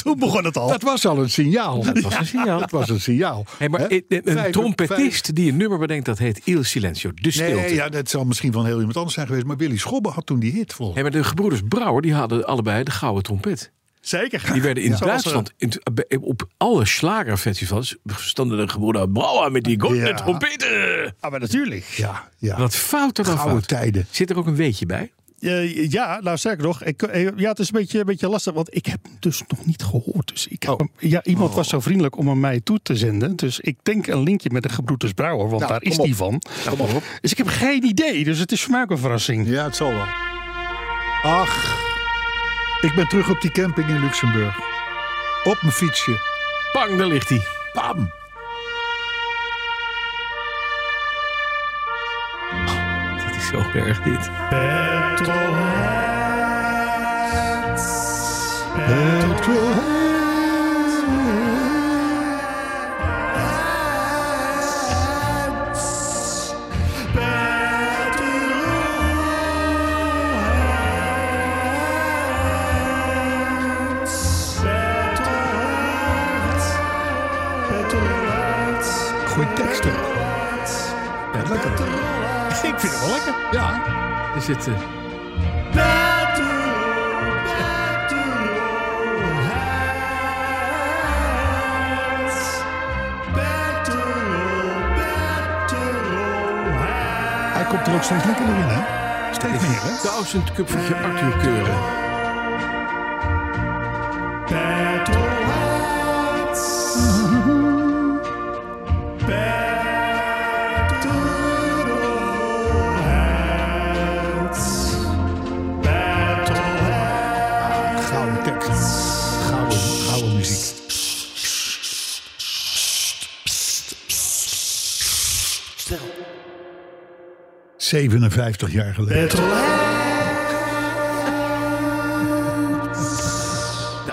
Toen begon het al. Dat was al een signaal. Dat was een signaal. Dat was een signaal. Hey, maar Hè? een- een Vijf- trompetist die een nummer bedenkt, dat heet Il Silencio, de vijf- stilte. Nee, ja, dat zal misschien van heel iemand anders zijn geweest. Maar Willy Schobbe had toen die hit volgens Hey, maar de gebroeders Brouwer die hadden allebei de gouden trompet. Zeker. Die werden in Ja. eh, Duitsland, in, eh, op alle slagerfestivals, stonden de gebroeders Brouwer met die gouden Ja. trompeten. Ah, maar natuurlijk. Ja, ja. Wat fout er dan Gouden fout. tijden. Zit er ook een weetje bij? Eh, ja, nou sterker nog. Ik, eh, ja, het is een beetje, een beetje lastig, want ik heb hem dus nog niet gehoord. Dus ik heb Oh. hem- ja, iemand was zo vriendelijk om hem mij toe te zenden. Dus ik denk een linkje met de gebroeders Brouwer, want Nou, daar is kom op. die van. Kom maar op. Dus ik heb geen idee, dus het is voor mij ook een verrassing. Ja, het zal wel. Ach, ik ben terug op die camping in Luxemburg. Op mijn fietsje. Bang, daar ligt hij. Bam. Oh, Dit is zo erg, dit. Goeie teksten. Ja, lekker. Ik vind het wel lekker. Ja, Er zit, eh, hij komt er ook steeds lekkerder in, hè? Steeds meer, hè? duizend cupje Arthur Keuren. Gouden teksten. Gouden, gouden muziek. Stil. 57 jaar geleden. De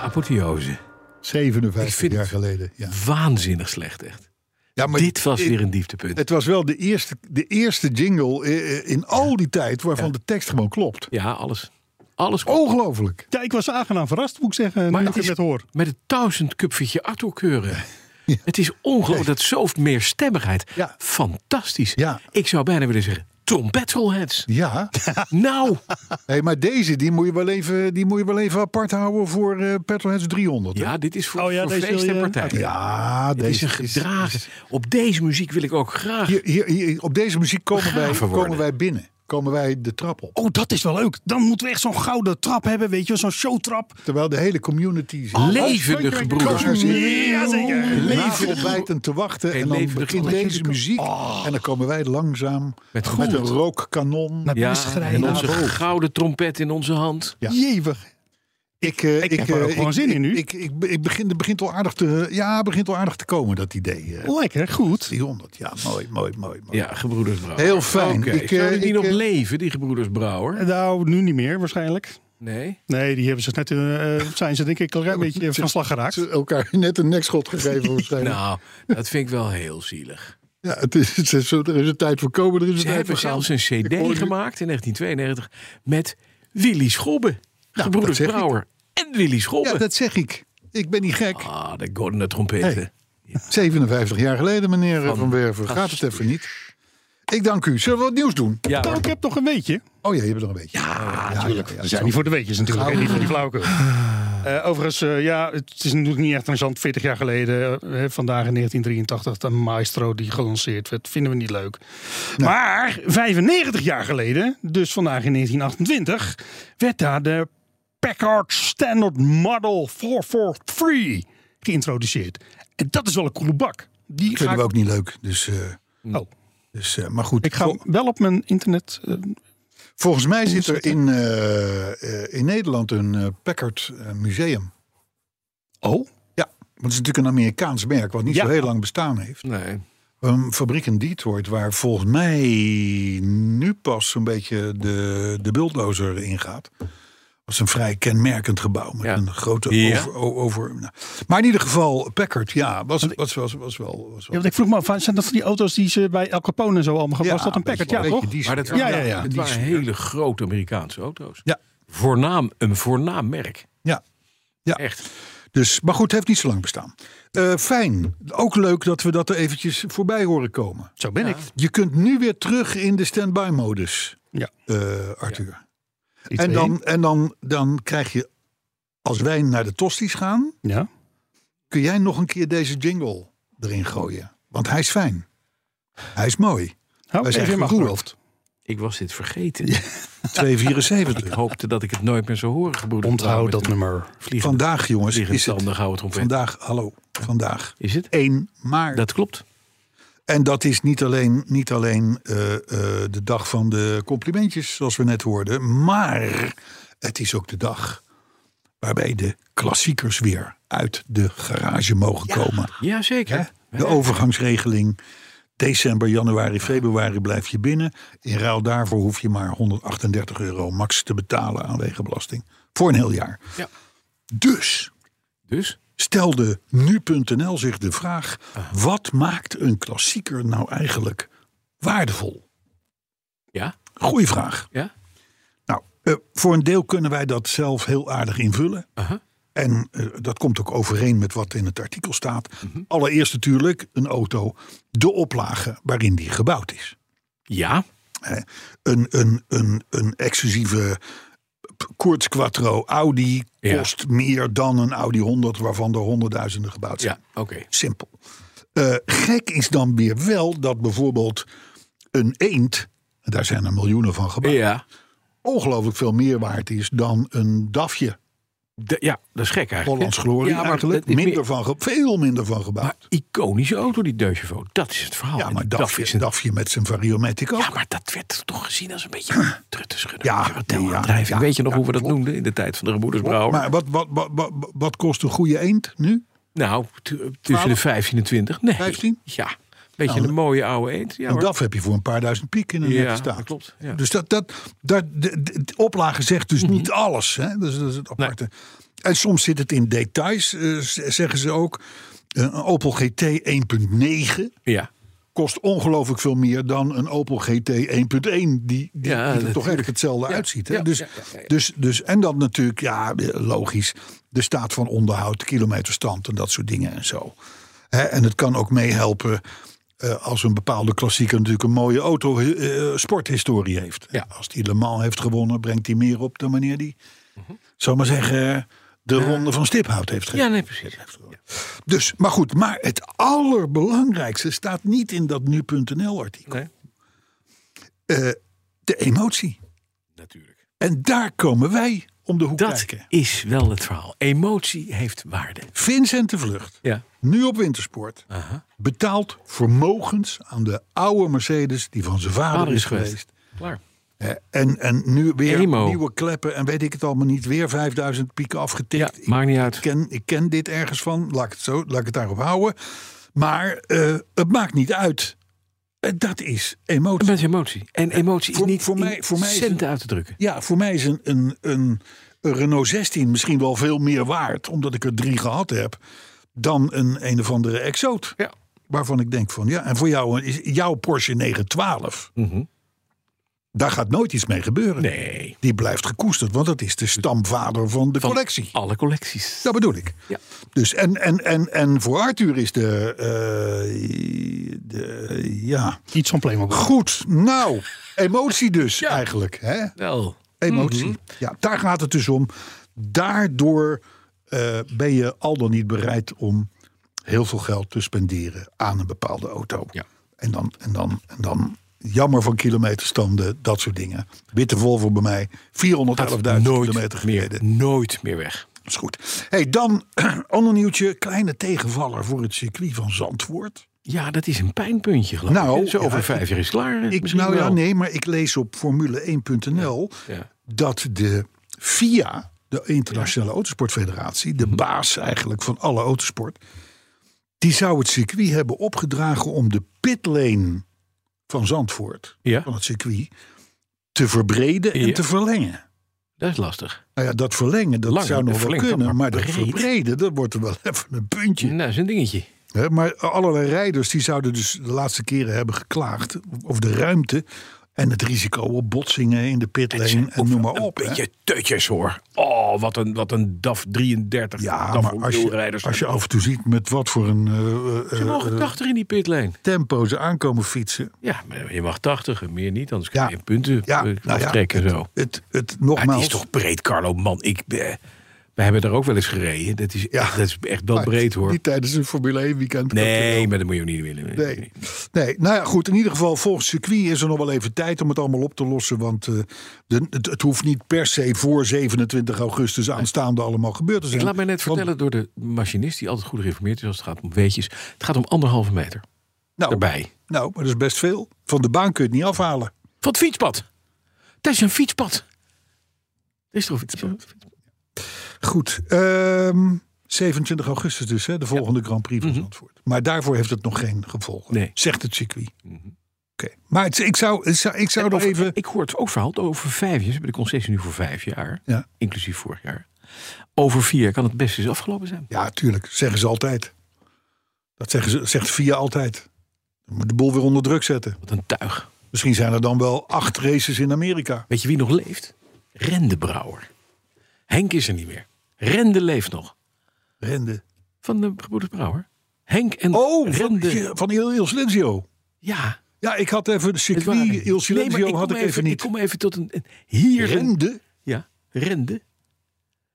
apotheose. 57 Ik vind jaar het- geleden. Ja, Waanzinnig slecht, echt. ja maar dit was dit- weer een dieptepunt. Het was wel de eerste, de eerste jingle eh, eh, in al die tijd waarvan de tekst gewoon klopt. ja, alles. Alles Oh, klopt. Ongelooflijk. Ja, ik was aangenaam verrast, moet ik zeggen, maar nu ik het het net hoor. met het duizend cupje Arthur Keuren. Het is ongelooflijk. Dat is zoveel meer stemmigheid. Ja. Fantastisch. Ja. Ik zou bijna willen zeggen, Tom Petrolheads. Ja, nou, hey, maar deze die moet, je wel even, die moet je wel even apart houden voor eh Petrolheads 300. hè? ja, dit is voor, Oh ja, voor deze feest en wil je- partij. ja Dit is deze een gedragen. Op deze muziek wil ik ook graag. Hier, hier, hier- op deze muziek komen wij, Begraven komen worden. wij binnen. Komen wij de trap op. Oh, dat is wel leuk. Dan moeten we echt zo'n gouden trap hebben, weet je, wel, zo'n showtrap. Terwijl de hele community zit. Levendige gebroeders. Daar zit- Ja, zeker. Leven ontbijten te wachten. Geen en dan levendige begint geluid. deze muziek. En dan komen wij langzaam Met met een goed. rookkanon. Ja, Beschrijven. en onze gouden trompet in onze hand. Ja. Jevig. Ik, eh, Ik heb er eh, ook gewoon zin in nu. Ik, ik, ik begin, het begint al aardig te, ja, het begint al aardig te komen, dat idee. eh Lekker, goed. 300, ja, mooi, mooi, mooi. mooi. Ja, gebroeders Brouwer. Heel fijn. Oké, Ik, eh, Zouden die ik, nog eh, leven, die gebroeders Brouwer? Nou, nu niet meer waarschijnlijk. Nee. Nee, die hebben ze net, eh, eh, zijn ze denk ik al een beetje van slag geraakt. Ze elkaar net een nekschot gegeven waarschijnlijk. Nou, dat vind ik wel heel zielig. Ja, het is, het is, er is een tijd voor komen, er is een Ze tijd hebben voor gaan. zelfs een Ik hoor nu- cd gemaakt in 1992 met Willy Schobbe. gebroeders Nou, dat zeg ik. Brouwer en Willy Schobbe. Ja, dat zeg ik. Ik ben niet gek. Ah, de goldene trompeten. Hey. 57 jaar geleden, meneer Van, Werven. Gaat het even niet. Ik dank u. Zullen we wat nieuws doen? Ja, Nou, hoor. ik heb nog een weetje. Oh ja, je hebt nog een beetje. Ja, Nou, natuurlijk. We zijn niet voor de weetjes natuurlijk, hè, niet voor die flauwekul. Eh, overigens, eh, ja, het is natuurlijk niet echt interessant. 40 jaar geleden, eh, vandaag in 1983, de Maestro die gelanceerd werd. Vinden we niet leuk. Maar 95 jaar geleden, dus vandaag in 1928, werd daar de Packard Standard Model 443 geïntroduceerd. En dat is wel een coole bak. Die ga vinden we ik, ook niet leuk. Dus, eh, oh, dus, eh, maar goed. ik ga Vol- hem wel op mijn internet. eh, volgens mij zit er in, eh, eh, in Nederland een eh, Packard eh, Museum. oh, Ja, want het is natuurlijk een Amerikaans merk wat niet Ja. zo heel lang bestaan heeft. Nee. Een fabriek in Detroit waar volgens mij nu pas zo'n beetje de, de bulldozer ingaat. Dat is een vrij kenmerkend gebouw met Ja. een grote Ja. over... o- over nou. Maar in ieder geval, Packard, ja, was, was, was, was wel... Was ja, wel want ik vroeg me af, zijn dat van die auto's die ze bij El Capone en zo allemaal... was dat een Packard? Ja, beetje toch? die Maar dat sfeer. waren, Ja, ja, ja. Het waren hele grote Amerikaanse auto's. Ja. voornaam, een voornaam merk. Ja. ja. Echt. Dus, maar goed, het heeft niet zo lang bestaan. Eh, fijn. Ook leuk dat we dat er eventjes voorbij horen komen. Zo ben ik. Je kunt nu weer terug in de standby-modus, Ja. eh, Arthur. Iets En, één. dan, en dan, dan krijg je, als wij naar de Tosties gaan, Ja. kun jij nog een keer deze jingle erin gooien. Want hij is fijn. Hij is mooi. Oh, Wij zijn Jim gegroeid. Ik was dit vergeten. Ik 274. hoopte dat ik het nooit meer zou horen, gebroeder. Onthoud Blauw, dat met een nummer. Vliegende, Vandaag, jongens, vliegende is tanden het. gouden trompet. Vandaag, hallo. Vandaag. Is het? 1 maart. Dat klopt. En dat is niet alleen, niet alleen eh, eh, de dag van de complimentjes, zoals we net hoorden. Maar het is ook de dag waarbij de klassiekers weer uit de garage mogen komen. Jazeker. Hè? zeker. De overgangsregeling. December, januari, februari blijf je binnen. In ruil daarvoor hoef je maar 138 euro max te betalen aan wegenbelasting. Voor een heel jaar. Ja. Dus Dus? stelde nu.nl zich de vraag: wat maakt een klassieker nou eigenlijk waardevol? Ja? Goeie vraag. Ja? Nou, eh, voor een deel kunnen wij dat zelf heel aardig invullen. Aha. En eh, dat komt ook overeen met wat in het artikel staat. Mm-hmm. Allereerst natuurlijk een auto, de oplage waarin die gebouwd is Ja? een, een, een, een exclusieve Koorts Quattro Audi Ja. kost meer dan een Audi 100, waarvan er honderdduizenden gebouwd zijn. Ja, oké. Simpel. Eh, gek is dan weer wel dat bijvoorbeeld een eend, en daar zijn er miljoenen van gebouwd, Ja. ongelooflijk veel meer waard is dan een dafje. De- ja, dat is gek eigenlijk. Hollands Glorie ja, maar eigenlijk. dat is Minder meer- van ge- veel minder van gebouwd. Maar iconische auto, die Deugevo. Dat is het verhaal. ja, En maar DAF dafje, is een- dafje met zijn variomatic ook. Ja, maar dat werd toch gezien als een beetje truttenschudden. Ja, Ja, ja, ja, Nou, Weet je nog ja, hoe we dat klopt. noemden in de tijd van de gebroeders Brouwer? maar wat, wat, wat, wat, wat kost een goede eend nu? nou, t- tussen de 15 en 20. Nee. 15? Ja. Beetje Nou, een mooie oude eend. Ja, Een hoor. DAF heb je voor een paar duizend piek in een Ja, nette staat. dat klopt, ja. Mhm. Dus dat, dat, dat, de, de- de oplage zegt dus niet alles. Hè? Dus dat is het aparte. En soms zit het in details, eh, z- zeggen ze ook. Eh, Een Opel GT 1.9 ja. kost ongelooflijk veel meer dan een Opel GT 1.1. Die, die, die er toch natuurlijk. eigenlijk hetzelfde uitziet. Hè? ja, dus, ja, ja, ja. Dus, dus, en dan natuurlijk, ja, logisch, de staat van onderhoud, kilometerstand en dat soort dingen en zo. Hè, en het kan ook meehelpen eh, als een bepaalde klassieker natuurlijk een mooie auto eh, sporthistorie heeft. Ja. Als die Le Mans heeft gewonnen, brengt hij meer op dan wanneer die, zal maar zeggen, de ronde van Stiphout heeft gewonnen. Mhm. ja, nee, precies. Dus, maar goed, maar het allerbelangrijkste staat niet in dat nu.nl-artikel. Nee, Eh, de emotie. natuurlijk. En daar komen wij om de hoek Dat kijken. is wel het verhaal. Emotie heeft waarde. Vincent de Vlucht, Ja. nu op wintersport, betaalt vermogens aan de oude Mercedes die van zijn vader, Vader is is geweest. geweest. Klaar. Eh, En, en nu weer Emo. nieuwe kleppen en weet ik het allemaal niet. Weer 5000 pieken Ja, afgetikt. maakt niet uit. ik, ken, ik ken dit ergens van, laat ik het, zo, laat ik het daarop houden. Maar eh, het maakt niet uit. Eh, Dat is emotie. Met emotie. En emotie is Voor- niet voor mij- in voor mij is centen uit te drukken. Ja, voor mij is een, een, een, een Renault 16 misschien wel veel meer waard, omdat ik er drie gehad heb, dan een een of andere exoot. Ja. Waarvan ik denk van ja, en voor jou eh, is jouw Porsche 912. Daar gaat nooit iets mee gebeuren. Mhm. Nee. Die blijft gekoesterd, want dat is de stamvader van de Van collectie. Alle collecties. Dat bedoel ik. Ja. Dus en, en, en, en voor Arthur is de, eh, de. Ja. Iets van Playmobil. Goed, nou, emotie dus eigenlijk. Hè? Wel. emotie. Mhm. Ja, daar gaat het dus om. Daardoor eh, ben je al dan niet bereid om heel veel geld te spenderen aan een bepaalde auto. Ja. En, dan, en, dan, en dan jammer van kilometerstanden, dat soort dingen. Witte Volvo bij mij, 411.000 kilometer meer, gereden. nooit meer weg. Dat is goed. Hey, dan, ander nieuwtje, kleine tegenvaller voor het circuit van Zandvoort. Ja, dat is een pijnpuntje geloof Nou, ik. Zo over ja, vijf jaar is het klaar. Ik, Misschien nou ja, wel. nee, maar ik lees op Formule1.nl Ja. dat de FIA, de Internationale Autosportfederatie, de Mhm. baas eigenlijk van alle autosport, die zou het circuit hebben opgedragen om de pitlane van Zandvoort, Ja. van het circuit, te verbreden en Ja. te verlengen. Dat is lastig. Nou ja, dat verlengen, dat Lang, zou nog wel verlengd, kunnen, maar, maar dat breed. verbreden, dat wordt er wel even een puntje. Nou, dat is een dingetje. Hè, maar allerlei rijders die zouden dus de laatste keren hebben geklaagd over de ruimte En het risico op botsingen in de pitlane en noem maar op. Een hè. beetje tutjes hoor. Oh, wat een, wat een DAF 33. Ja, DAF maar als je, wielrijders. als je af en toe ziet met wat voor een eh, eh, Ze mogen 80 in die pitlane. tempo ze aankomen fietsen. Ja, maar je mag 80 en meer niet, anders Ja. krijg je punten Ja, eh, nou ja, aftrekken. het, zo. Maar Het, het, het nogmaals, is toch breed, Carlo? Man, ik ben... Wij hebben daar ook wel eens gereden. Dat is, Ja. echt, dat is echt wel maar breed hoor. Niet tijdens een Formule 1 weekend. Nee, maar dat moet je ook niet willen. Nee. nee, nou ja, goed. In ieder geval, volgens circuit is er nog wel even tijd om het allemaal op te lossen. Want eh, de, het, het hoeft niet per se voor 27 augustus aanstaande allemaal gebeurd te zijn. Dus Ik laat mij net Want- vertellen door de machinist, die altijd goed geïnformeerd is als het gaat om weetjes. Het gaat om anderhalve meter nou, erbij. Nou, maar dat is best veel. Van de baan kun je het niet afhalen. Van het fietspad. Dat is een fietspad. Er is toch een fietspad? Goed. ehm, 27 augustus dus, hè, de volgende Grand Prix van Zandvoort. Maar daarvoor heeft het nog geen gevolgen, Mhm. Nee. Mhm. zegt het circuit. Oké, Maar het- ik zou, ik zou, ik zou nog Over- even... Ik hoor het ook verhaal over vijf jaar. Ze hebben de concessie nu voor vijf jaar. Ja. Inclusief vorig jaar. Over vier jaar kan het best eens afgelopen zijn. Ja, tuurlijk. Zeggen ze altijd. Dat zeggen ze, zegt VIA altijd. Je moet de boel weer onder druk zetten. Wat een tuig. Misschien zijn er dan wel acht races in Amerika. Weet je wie nog leeft? Rende Brouwer. Henk is er niet meer. Rende leeft nog. Rende. Van de gebroeders Brouwer. Henk en Oh, van, Rende. van Il, Il Silenzio. ja, Ja, ik had even het de waren- circuit Il Nee, Silenzio maar had kom ik even, Ik niet. kom even tot een... een- Hier. Rende, Ja, Rende.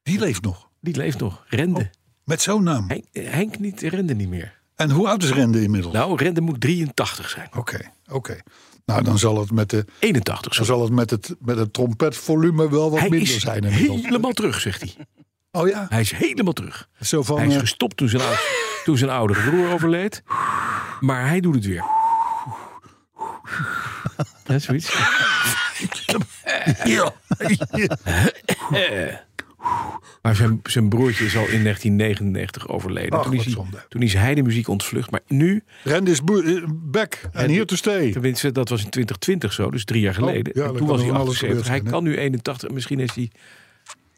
die leeft nog. Die leeft nog. Rende. Oh. Met zo'n naam. Henk, eh, Henk niet, Rende niet meer. En hoe oud is Rende inmiddels? Nou, Rende moet 83 zijn. Oké, oké. Nou, dan zal het met, de, 81. dan Zo. zal het, met, het, met het trompetvolume wel wat Hij minder is zijn. inmiddels. helemaal terug, zegt hij. Oh ja, Hij is helemaal terug. zo van... Hij is eh, gestopt toen zijn, oude, toen zijn oudere broer overleed. Maar hij doet het weer. Dat is zoiets. Maar zijn, zijn broertje is al in 1999 overleden. Ach, toen, is wat hij, zonde. toen is hij de muziek ontvlucht. Maar nu, Rende is boer- eh, back and here to stay. tenminste dat was in 2020 zo, dus drie jaar geleden. Oh, ja, En toen dan kan was er hij van alles 78. Hij gebeurd zijn, kan nu 81, misschien is hij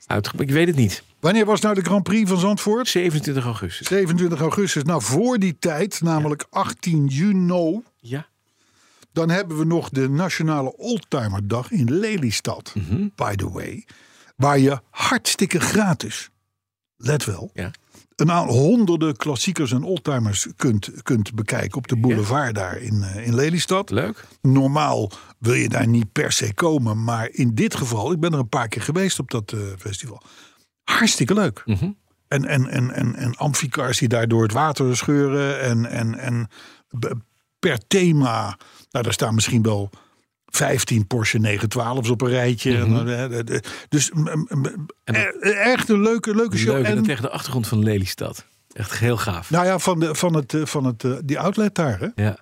uitge... Ik weet het niet. Wanneer was nou de Grand Prix van Zandvoort? 27 augustus. 27 augustus. Nou, voor die tijd, namelijk 18 juni, Ja. dan hebben we nog de Nationale Oldtimerdag in Lelystad, by the way. Waar je hartstikke gratis, let wel, Ja. een aan honderden klassiekers en oldtimers kunt, kunt bekijken op de boulevard daar in, eh, in Lelystad. Leuk. Normaal wil je daar niet per se komen, maar in dit geval, ik ben er een paar keer geweest op dat eh, festival. Hartstikke leuk. En, en, en, en, en amficars die daar door het water scheuren. En, en, en b- per thema, nou daar staan misschien wel 15 Porsche 912's op een rijtje. En, eh, eh, eh, dus m- m- m- e- echt een leuke, leuke show. Leuk. En En- dat tegen de achtergrond van Lelystad. Echt heel gaaf. nou ja, van, de, van, het, eh, van het, eh, die outlet daar. Hè? Ja.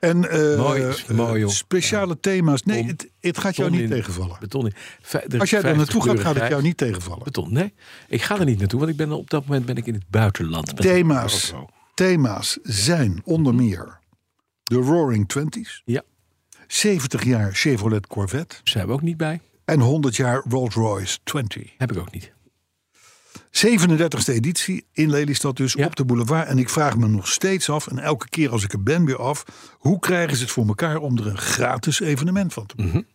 En eh, Mooi, eh, mooi, joh. speciale thema's. Nee, Om- het, het gaat jou Beton niet in- tegenvallen. Beton in. Vij- de Als jij daar 50 naartoe gaat, kleuren gaat het grijs. jou niet tegenvallen. Beton, nee. Ik ga er niet naartoe, want ik ben, op dat moment ben ik in het buitenland. Met Thema's, de auto. thema's zijn onder Mhm. meer de Roaring Twenties, Ja, 70 jaar Chevrolet Corvette zijn we ook niet bij. en 100 jaar Rolls Royce 20. Heb ik ook niet. 37e editie in Lelystad dus Ja. op de boulevard. En ik vraag me nog steeds af, en elke keer als ik er ben weer af... hoe krijgen ze het voor elkaar om er een gratis evenement van te maken?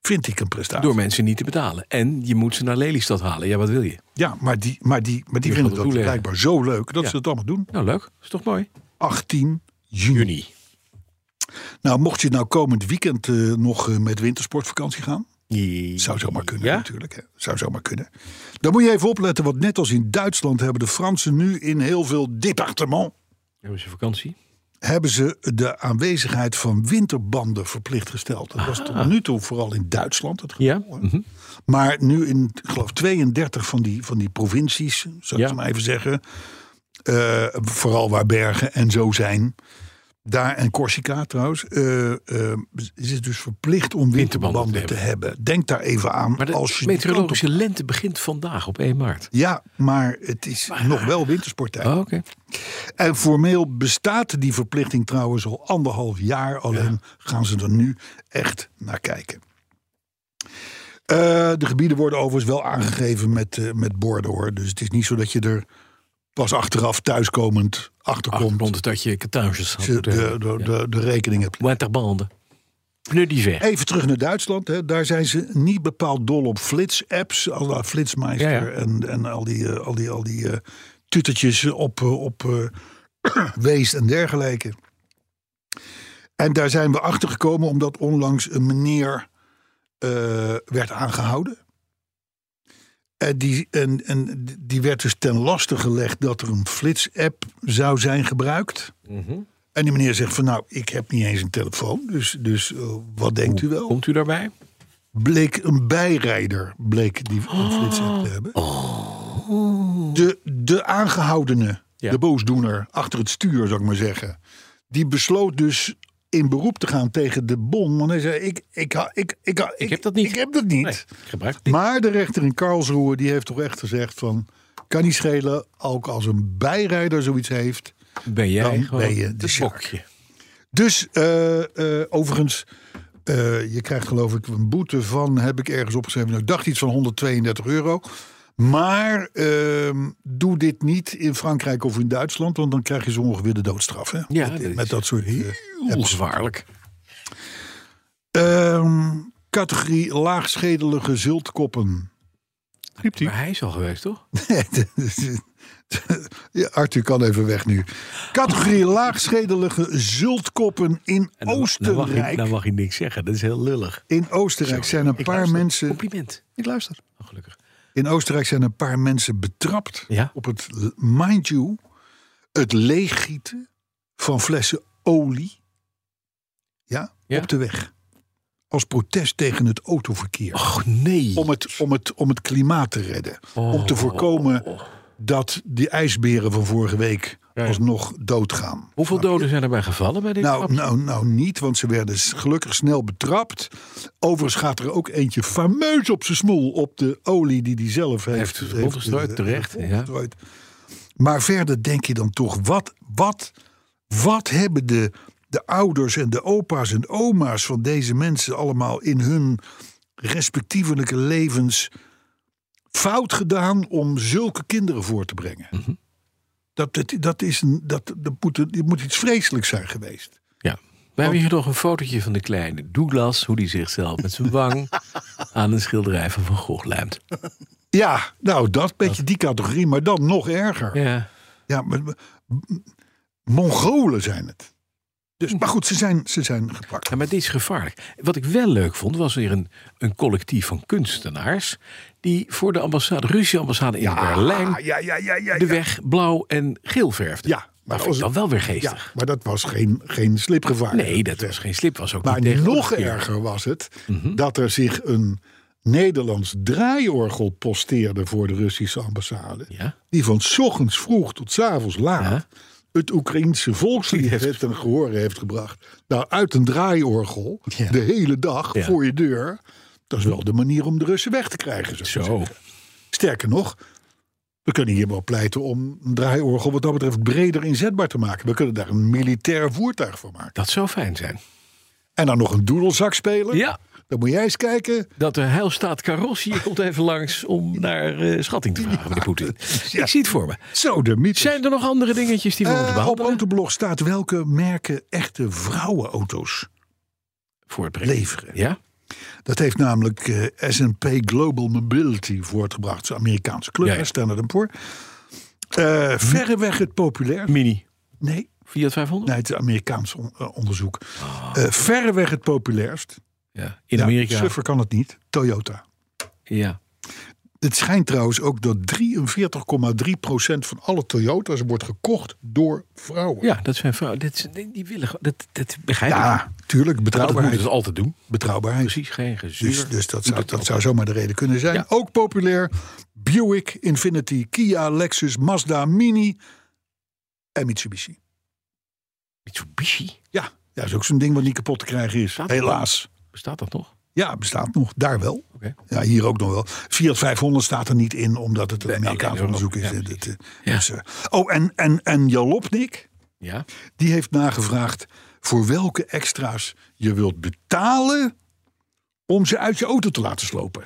Vind ik een prestatie. Mhm. Door mensen niet te betalen. En je moet ze naar Lelystad halen. Ja, wat wil je? Ja, maar die, maar die, maar gaat die vinden het dat toeleggen. blijkbaar zo leuk dat Ja. ze het allemaal doen. Nou, leuk. Is toch mooi? 18 juni. Juni. Nou, mocht je nou komend weekend eh, nog eh, met wintersportvakantie gaan. Zou zomaar kunnen Ja? natuurlijk. Hè. Zou zomaar kunnen. Dan moet je even opletten, want net als in Duitsland hebben de Fransen nu in heel veel departement... Hebben ze vakantie? hebben ze de aanwezigheid van winterbanden verplicht gesteld. Dat was Ah. tot nu toe vooral in Duitsland het geval. Ja. Mhm. hè. Maar nu in, ik geloof, 32 van die, van die provincies, zou ik Ja. het maar even zeggen... eh, vooral waar Bergen en zo zijn... Daar en Corsica trouwens, eh, eh, is het dus verplicht om winterbanden, Winterbanden te te hebben. Denk daar even aan. Maar de als je die kant op- meteorologische lente begint vandaag op 1 maart. Ja, maar het is nog wel wintersporttijd. Oh, Oké. En formeel bestaat die verplichting trouwens al anderhalf jaar. Alleen gaan ze er nu echt naar kijken. Eh, de gebieden worden overigens wel aangegeven met, eh, met borden hoor. Dus het is niet zo dat je er pas achteraf thuiskomend achterkomt. Achtergrond dat je katuinjes had. Ze moeten de, hebben. de, de, de rekening hebt. Winterbanden. Pnuddiver. Even terug naar Duitsland. Hè. Daar zijn ze niet bepaald dol op flits-apps. à la Flitsmeister Ja, ja. en, en al die, eh, al die, al die eh, tutertjes op, eh, op eh, Wees en dergelijke. En daar zijn we achter gekomen omdat onlangs een meneer eh, werd aangehouden. En die, en, en die werd dus ten laste gelegd dat er een flits-app zou zijn gebruikt. Mhm. En die meneer zegt van nou, ik heb niet eens een telefoon, dus, dus eh, wat denkt u wel? Komt u daarbij? Bleek een bijrijder, bleek die een Oh. flitsapp te hebben. De, de aangehoudene, Ja. de boosdoener, achter het stuur zou ik maar zeggen. Die besloot dus in beroep te gaan tegen de bon. Want hij zei, ik, ik, ha- ik, ik, ha- ik, heb dat niet. Ik heb dat niet. Nee, ik gebruik het niet. Maar de rechter in Karlsruhe die heeft toch echt gezegd van... kan niet schelen, ook als een bijrijder zoiets heeft... Ben jij Dan gewoon ben je de het sjaak. bokje. Dus eh, eh, overigens, eh, je krijgt geloof ik een boete van, heb ik ergens opgeschreven, nou, ik dacht iets van 132 euro. Maar ehm, doe dit niet in Frankrijk of in Duitsland, want dan krijg je zo ongeveer de doodstraf. Hè? Ja, met, dat is met dat soort. eh, Heel zwaarlijk. ehm, categorie laagschedelige zultkoppen. Maar hij is al geweest, toch? Ja, Arthur kan even weg nu. Categorie laagschedelige zultkoppen in En dan- Dan mag, hij, Oostenrijk. dan mag hij niks zeggen. Dat is heel lullig. In Oostenrijk zijn een paar mensen. Compliment. Ik luister. Oh, gelukkig. In Oostenrijk zijn een paar mensen betrapt Ja. op het, mind you, het leeggieten van flessen olie ja, Ja. op de weg. Als protest tegen het autoverkeer. Och nee. Oh. Om, het, om, het, om het klimaat te redden. Om te voorkomen dat die ijsberen van vorige week alsnog doodgaan. Hoeveel doden zijn erbij gevallen bij dit? Nou, nou, nou niet, want ze werden s- gelukkig snel betrapt. Overigens gaat er ook eentje fameus op zijn smoel op de olie die hij zelf heeft, Heeft rondgestrooid, eh, terecht, heeft rondgestrooid. Maar verder denk je dan toch, wat, wat, wat hebben de, de ouders en de opa's en oma's van deze mensen allemaal in hun respectievelijke levens fout gedaan om zulke kinderen voor te brengen? Dat, dat, dat, is een, dat, dat, moet, een- dat moet iets vreselijks zijn geweest. Ja. We Oh. hebben hier nog een fotootje van de kleine Douglas, hoe die zichzelf met zijn wang aan een schilderij van Van Gogh lijmt. Ja, nou, dat beetje die categorie, maar dan nog erger. Ja, Ja, maar, maar- m- Mongolen zijn het. Dus, maar goed, ze zijn, ze zijn gepakt. Ja, maar dit is gevaarlijk. Wat ik wel leuk vond, was weer een, een collectief van kunstenaars. die voor de ambassade, Russische ambassade in Berlijn. Ah, ja, ja, ja, ja. de ja. weg blauw en geel verfden. Ja, maar maar dat was als- dan wel weer geestig. Ja, maar dat was geen, geen slipgevaar. nee, dat was geen slip, was ook niet Maar tegen Mhm. nog omgekeerd. erger was het dat er zich een Nederlands draaiorgel posteerde voor de Russische ambassade. Ja. Die van 's ochtends vroeg tot 's avonds laat Ja. het Oekraïense volkslied heeft ten gehoor heeft gebracht. Nou, uit een draaiorgel, de hele dag Ja. voor je deur. Dat is wel de manier om de Russen weg te krijgen. zou ik Zo. zeggen. Sterker nog, we kunnen hier wel pleiten om een draaiorgel wat dat betreft breder inzetbaar te maken. We kunnen daar een militair voertuig van maken. Dat zou fijn zijn. En dan nog een doedelzak spelen. Ja. Dan moet jij eens kijken. Dat de heilstaat Karossi komt even langs om naar eh, schatting te vragen, meneer Poetin. Ik zie het voor me. Zo, de mythe. Zijn er nog andere dingetjes die we moeten Eh, op behandelen? Autoblog staat welke merken echte vrouwenauto's Voortbrengen. leveren. Ja? Dat heeft namelijk eh, S&P Global Mobility voortgebracht. Dat is een Amerikaanse club, Ja, ja, ja. Standard Poor. Eh verreweg het populair. Mini. Nee, Fiat 500? nee het is Amerikaans on- eh, onderzoek. Eh, verreweg het populairst. Ja. Ah. In Ja, Amerika. Suffer kan het niet. Toyota. Ja. Het schijnt trouwens ook dat 43,3% van alle Toyota's wordt gekocht door vrouwen. ja, dat zijn vrouwen. Dat, is- die- die willen gewoon- dat, dat begrijp ik. Ja, tuurlijk. dat moeten Betrouwbaarheid. ze altijd doen. betrouwbaarheid. Precies, geen gezuur. Dus, dus dat, zou, dat zou zomaar de reden kunnen zijn. Ook populair. Buick, Infinity, Kia, Lexus, Mazda, Mini en Mitsubishi. Mitsubishi, Ja, ja dat is ook zo'n ding wat niet kapot te krijgen is. Staat er Helaas. bestaat dat nog? Ja, bestaat nog. Daar wel. Oké. Ja, hier ook nog wel. Fiat 500 staat er niet in, omdat het een Amerikaans oké, onderzoek is. ja, hè. precies. Ja. Dat, eh, dus, eh, oh, en, en, en Jalopnik, Ja. die heeft nagevraagd voor welke extra's je wilt betalen om ze uit je auto te laten slopen.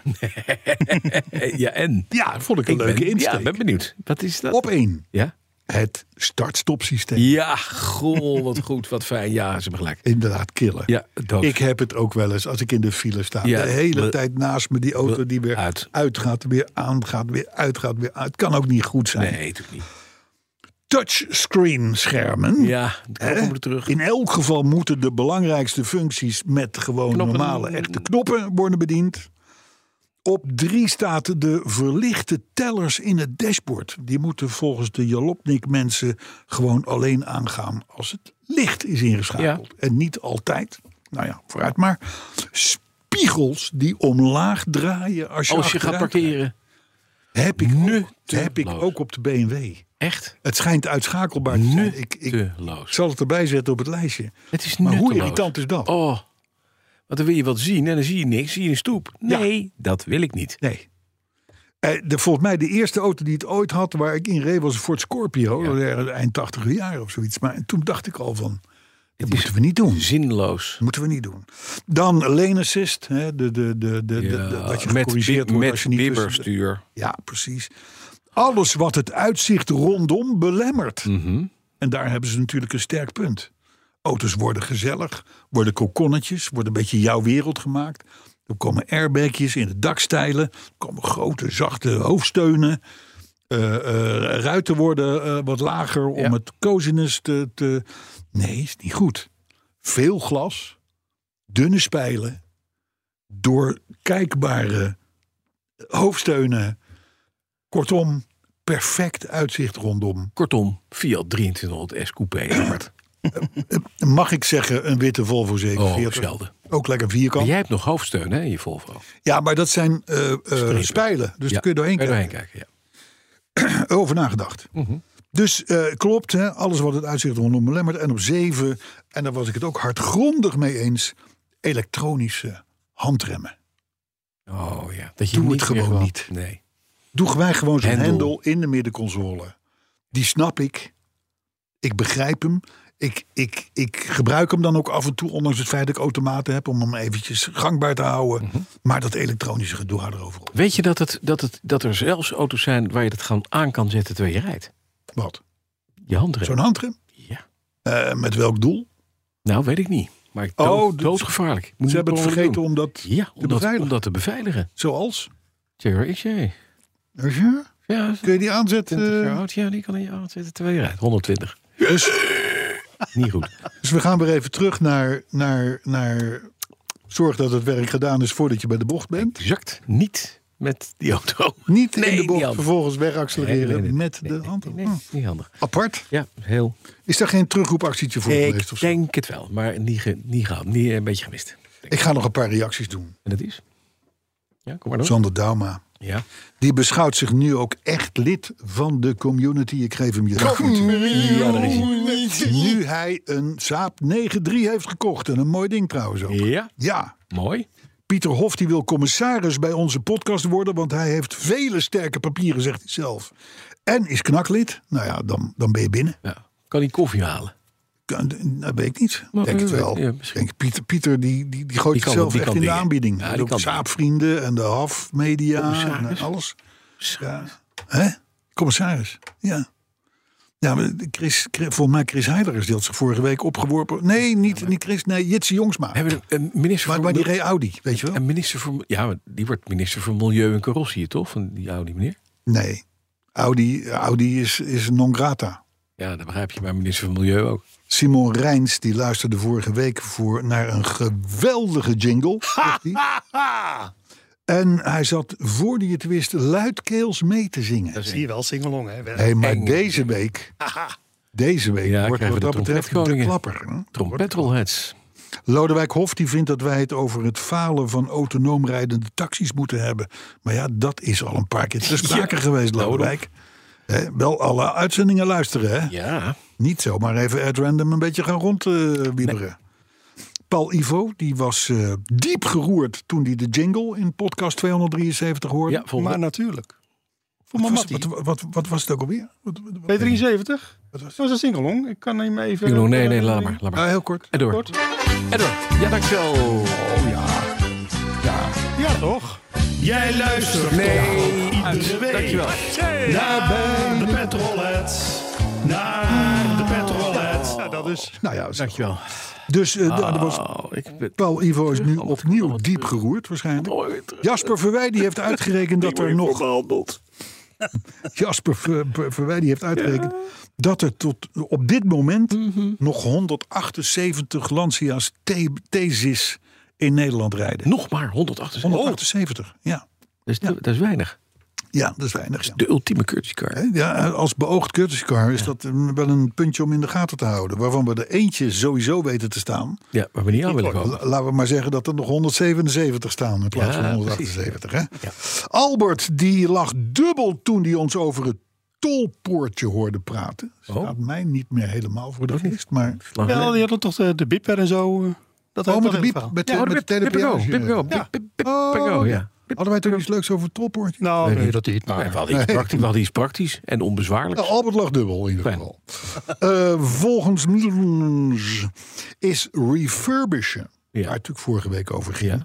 Eh, ja, en? Ja, dat vond ik een Ik leuke ben, insteek. Ja, ben benieuwd. Wat is dat? Op één, Ja? Het start-stop-systeem. Ja, goh, wat goed, wat fijn. Ja, ze hebben gelijk. Inderdaad, killen. Ja, dood. Ik heb het ook wel eens als ik in de file sta. Ja, de hele we- tijd naast me die auto we- die weer uit. uitgaat, weer aangaat, weer uitgaat, weer uit. Het kan ook niet goed zijn. nee, natuurlijk niet. Touchscreen schermen. Ja, dan Hè? komen we terug. In elk geval moeten de belangrijkste functies met gewoon Knoppen. normale echte knoppen worden bediend. Op drie staat de verlichte tellers in het dashboard. Die moeten volgens de Jalopnik mensen gewoon alleen aangaan als het licht is ingeschakeld. En niet altijd. Nou ja, vooruit maar. Spiegels die omlaag draaien als je, Oh, Als je gaat achteruit parkeren. rijdt. Heb ik, ook, heb ik Nutteloos. ook op de BMW. Echt? Het schijnt uitschakelbaar te zijn. Ik, ik, ik Nutteloos. zal het erbij zetten op het lijstje. Het is Maar hoe nutteloos. irritant is dat? Oh, want dan wil je wat zien en dan zie je niks. Zie je een stoep. Nee, dat wil ik niet. Nee. Eh, de, volgens mij de eerste auto die het ooit had waar ik in reed was een Ford Scorpio. Ja. ergens Eind 80 jaar of zoiets. Maar toen dacht ik al van, dat moeten we niet doen. Dat Zinloos. moeten we niet doen. Dan lane assist. Hè, de, de, de, de, de- de- Ja, dat je met gecorrigeerd bib- wordt met als je niet... dus- tussen- bibberstuur. ja, precies. Alles wat het uitzicht rondom belemmert. En daar hebben ze natuurlijk een sterk punt. Auto's worden gezellig, worden kokonnetjes, worden een beetje jouw wereld gemaakt. Er komen airbagjes in de dakstijlen, er komen grote zachte hoofdsteunen. Eh, eh, ruiten worden eh, wat lager om Ja. het coziness te, te... Nee, is niet goed. Veel glas, dunne spijlen, doorkijkbare hoofdsteunen. Kortom, perfect uitzicht rondom. Kortom, Fiat 2300 S Coupé. Albert. Mag ik zeggen, een witte Volvo 47. Oh, zelden. Ook lekker Maar vierkant. jij hebt nog hoofdsteun hè, in je Volvo. Ja, maar dat zijn eh, eh, Strepen. spijlen. Ja, Dus daar kun je doorheen kan je kijken. kijken, ja. Over nagedacht. Dus eh, klopt, hè, alles wat het uitzicht rondom belemmert. En op zeven, en daar was ik het ook hardgrondig mee eens, elektronische handremmen. Oh ja. Dat je Doe niet het meer gewoon niet. Nee. Doen wij gewoon zo'n Hendel. hendel in de middenconsole. Die snap ik. Ik begrijp hem. Ik, ik, ik gebruik hem dan ook af en toe, ondanks het feit dat ik automaten heb, om hem eventjes gangbaar te houden. Mhm. Maar dat elektronische gedoe hou erover op. Weet je dat, het, dat, het, dat er zelfs auto's zijn waar je dat gewoon aan kan zetten terwijl je rijdt? Wat? Je handrem. Zo'n handrem? Ja. Eh, met welk doel? Nou, weet ik niet. Maar dood, dus- doodgevaarlijk. Moet Ze hebben het gewoon vergeten doen. om dat, Ja, om dat, beveiligen. om dat te beveiligen. zoals. Jaguar XJ. Ja, Ja, Kun je die 20 aanzetten? jaar oud. Ja, die kan in je aanzetten terwijl je rijdt. 120. Dus, Niet goed. dus we gaan weer even terug naar, naar, naar. Zorg dat het werk gedaan is voordat je bij de bocht bent. Exact niet met die auto. Niet Nee, in de niet bocht, handig. vervolgens Nee, wegaccelereren nee, nee, met nee, de nee, hand. Nee, Oh, niet handig. Apart. Ja, heel. Is daar geen terugroepactietje voor geweest? Ik Of zo? denk het wel, maar niet, ge- niet gehad. Niet, eh, een beetje gemist. Ik ga nog een paar reacties doen. En dat is? Ja, kom maar door. Sander Dauma. Ja. Die beschouwt zich nu ook echt lid van de community. Ik geef hem je dag natuurlijk. Ja, daar is hij. Nu hij een Saab 9-3 heeft gekocht. En een mooi ding trouwens ook. Ja, Ja, mooi. Pieter Hof die wil commissaris bij onze podcast worden, want hij heeft vele sterke papieren, zegt hij zelf. En is knaklid. Nou ja, dan, dan ben je binnen. Ja. Nou, Kan hij koffie halen? Kan- Dat nou, weet ik niet. Maar, Denk het eh, wel. ja, misschien. Denk, Pieter, Pieter die, die, die gooit Die kan- zichzelf die echt kan in de dingen. aanbieding. Ja, Ja, die de kan Saapvrienden en de HAF Media en Commissaris. alles. Ja. Hè? Commissaris. Ja. Ja, maar Chris, Chris, volgens mij Chris Heiligers die had zich vorige week opgeworpen. Nee, niet, niet Chris. Nee, Jitsi Jongsma. Hebben we een minister Maar, van maar die Milieu- reed Audi, weet je wel? een minister voor, ja, maar die wordt minister voor Milieu en Carrossier, toch? Van die oude meneer. Nee. Audi, eh, Audi is, is non grata. Ja, dat begrijp je, maar minister van Milieu ook. Simon Rijns die luisterde vorige week voor, naar een geweldige jingle. zegt hij. en hij zat, voor die het wist, luidkeels mee te zingen. Zie je wel, singalong hè. Hey, maar eng. deze week, deze week Ja, wordt wat krijgen we dat de betreft de trompetkoningen. klapper. hè? Trompetrolheads. Lodewijk Hof die vindt dat wij het over het falen van autonoom rijdende taxis moeten hebben. Maar ja, dat is al een paar keer te sprake geweest, daarom. Lodewijk. Hè, wel alle uitzendingen luisteren, hè? Ja. Niet zomaar even at random een beetje gaan rondwieberen. Paul Ivo, die was eh, diep geroerd toen hij de jingle in podcast 273 hoorde. Ja, volgens Maar natuurlijk. Voor wat, mama. was, wat, wat, wat was het ook alweer? Wat, wat- wat- B73? wat was Dat was een singalong. Ik kan hem nou- even... Nee, nee, nee, laat maar. Laat maar. Ah, heel kort. En door. Kort. En door. Ja, dankjewel. Ja, toch? Jij luistert Nee. iedere week Dankjewel. naar de Petrolheads. naar de petrolhead. Nou, dat is... Nou ja, dat is- Dankjewel. dus eh, nou, er was, Oh, ik ben... Paul Ivo is nu opnieuw diep eh, geroerd waarschijnlijk. Oh, ik- Jasper Verwij die heeft uitgerekend dat er nog Gehandeld. Jasper Ver- Ver- Verwij die heeft uitgerekend dat er tot op dit moment nog 178 Lancia's T- Thesis in Nederland rijden. Nog maar 178. 178, ja. Dat, is, dat is weinig. Ja, dat is weinig. ja. De ultieme courtesy car. Ja, als beoogd courtesy car is dat eh, wel een puntje om in de gaten te houden. Waarvan we er eentje sowieso weten te staan. Ja, waar we niet aan willen komen. La- Laten we maar zeggen dat er nog 177 staan in plaats Ja, van 178. Hè? Albert die lag dubbel toen hij ons over het tolpoortje hoorde praten. Oh. Staat mij niet meer helemaal voor de geest, maar... Lang Ja, die geleden. hadden toch de, de bipper en zo. eh, Dat Oh, met dat de hele biep, verhaal. met, Oh, de- met de Pippo Go, TDPO's. Pippo Go, Ja. Pip- Pip- Pippo Oh, Go, ja. Hadden wij toch iets leuks over het tolpoortje? Nou, Nee, nee, niet. dat niet. Ja, we Maar hadden iets praktisch- we hadden iets praktisch en onbezwaarlijk. Nou, Albert lag dubbel in ieder Fijn. geval. Eh, volgens Mullens is refurbishen, Ja. waar het natuurlijk vorige week over ging, Ja.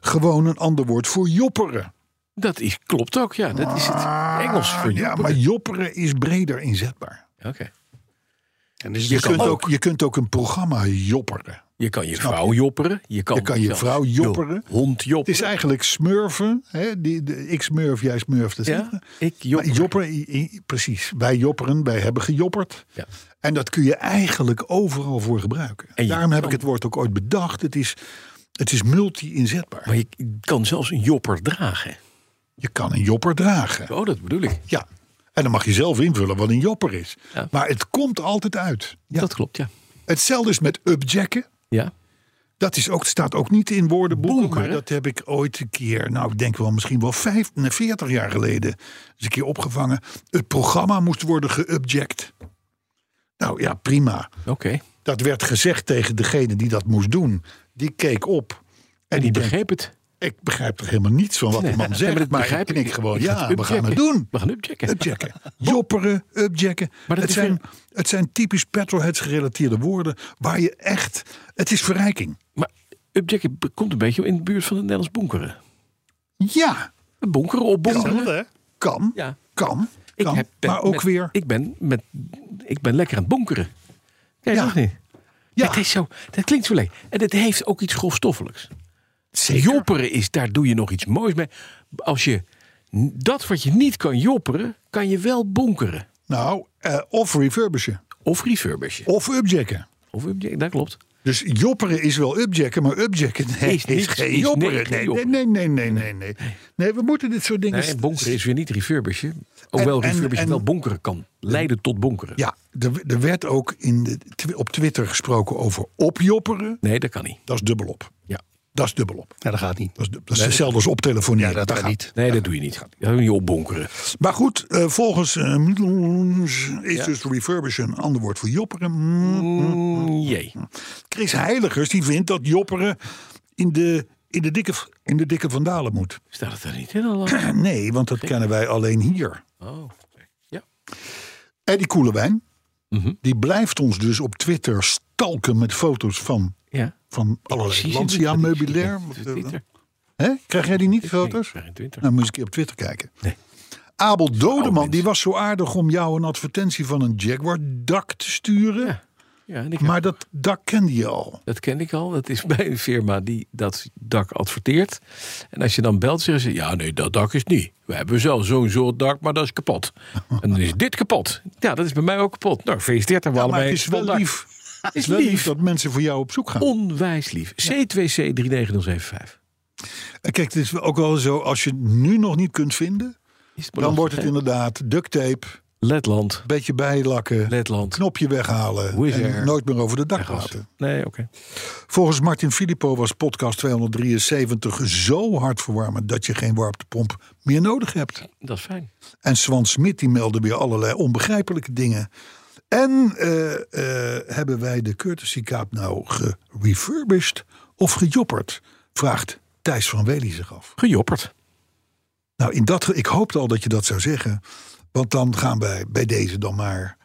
gewoon een ander woord voor jopperen. Dat is, klopt ook, ja. Dat is het Engels voor Ah, Ja, joeperen. maar jopperen is breder inzetbaar. Oké. en is het Je dus kunt, dan- ook, je kunt ook een programma jopperen. Je kan je vrouw jopperen. Je kan, Je kan je zelfs vrouw jopperen. Hond Het is jopperen. eigenlijk smurfen. Hè? Die, de, ik smurf, jij smurft. dat is Ja, het. ik jopper. Maar jopperen, i- i- precies. Wij jopperen, wij hebben gejopperd. Ja. En dat kun je eigenlijk overal voor gebruiken. En je Daarom heb ik het woord ook ooit bedacht. Het is, het is multi-inzetbaar. Maar je kan zelfs een jopper dragen. Je kan een jopper dragen. Oh, dat bedoel ik. Ja. En dan mag je zelf invullen wat een jopper is. Ja. Maar het komt altijd uit. Ja. Dat klopt, ja. Hetzelfde is met upjacken. Ja. Dat is ook, staat ook niet in woordenboeken. Boeken, Maar hè? dat heb ik ooit een keer, nou ik denk wel misschien wel vijf, nee, 40 jaar geleden, eens een keer opgevangen. Het programma moest worden geubject. Nou ja, prima. Oké. Dat werd gezegd tegen degene die dat moest doen. Die keek op. En, En die die denkt, begreep het. ik begrijp toch helemaal niets van wat Nee, de man nee, zegt. maar dat maar begrijp ik ik. knik gewoon, Ik ga ja, het we gaan het upjacken. doen. We gaan upjacken. Upjacken. Jopperen, upjacken. Maar dat het, is zijn, weer- het zijn typisch petrolheads gerelateerde woorden waar je echt... Het is verrijking. Maar upjacken be- komt een beetje in de buurt van het Nederlands bonkeren. Ja, Bonkeren op bonkeren. Hetzelfde, hè? kan. Ja. Kan. kan ben maar ook met- weer. Ik ben, met, ik ben lekker aan het bonkeren. Kijk, Ja. dat niet. Ja. Het is zo, dat klinkt zo leeg. En het heeft ook iets grofstoffelijks. Zeker. Jopperen is, daar doe je nog iets moois mee. Als je n- dat wat je niet kan jopperen, kan je wel bonkeren. Nou, eh, of refurbishen. Of refurbishen. Of upjacken. Of, ja, dat klopt. Dus jopperen is wel upjacken, maar upjacken nee, Is is, niks, geen is jopperen. niks, Nee, nee, jopperen. nee, nee, nee, nee, nee. Nee, we moeten dit soort dingen... Nee, bonkeren is weer niet refurbishen. Hoewel Dus- En- en- refurbishen en- wel bonkeren kan. Leiden tot bonkeren. Ja, er, er werd ook in de, twi- op Twitter gesproken over opjopperen. Nee, dat kan niet. Dat is dubbelop. Ja. Dat is dubbelop. Ja, dat gaat niet. Dat is, dat is hetzelfde als optelefoneren. Ja, dat gaat gaat niet. Nee, dat doe je niet. Dat doe je niet opbonkeren. Maar goed, eh, volgens eh, Middelons is dus refurbishen een ander woord voor jopperen. Mm. Mm, jee. Chris Heiligers die vindt dat jopperen in de, in de, dikke, v- in de dikke vandalen moet. Staat het er niet in? Allah? Nee, want dat kennen wij alleen hier. Oh. Ja. Eddie Koelewijn, Mhm. die blijft ons dus op Twitter stalken met foto's van, Ja. van allerlei Precies. Lancia meubilair. Ik zie Wat, eh, het niet. Hè? Krijg jij die niet, Nee, foto's? maar in Twitter. Nou, moet je eens een keer op Twitter kijken. Nee. Abel oude Dodeman, mens. die was zo aardig om jou een advertentie van een Jaguar-dak te sturen. Ja, ja, en ik heb- Maar dat dak kende je al. Dat ken ik al. Dat is bij een firma die dat dak adverteert. En als je dan belt, zeggen ze: Ja, nee, dat dak is niet. We hebben zelf zo'n soort dak, maar dat is kapot. En dan is dit kapot. Ja, dat is bij mij ook kapot. Nou, gefeliciteerd aan we maar allebei. het is een kapot wel dak. lief. Het Het is is wel lief lief. dat mensen voor jou op zoek gaan. Onwijs lief. C2C 39075. En Kijk, het is ook wel zo, als je het nu nog niet kunt Is vinden... het dan belasting, wordt het hè? inderdaad duct tape, Letland. beetje bijlakken... Letland. knopje weghalen Wizz Air. en nooit meer over de dak Ergens. laten. Nee, oké. Volgens Martin Filippo was podcast 273 zo hard verwarmend... dat je geen warmtepomp meer nodig hebt. Dat is fijn. En Swan Smit die meldde weer allerlei onbegrijpelijke dingen. En eh, eh, hebben wij de courtesy kaap nou gerefurbished of gejopperd? Vraagt Thijs van Wely zich af. Gejopperd. Nou, in dat, ge- ik hoopte al dat je dat zou zeggen. Want dan gaan wij bij deze dan maar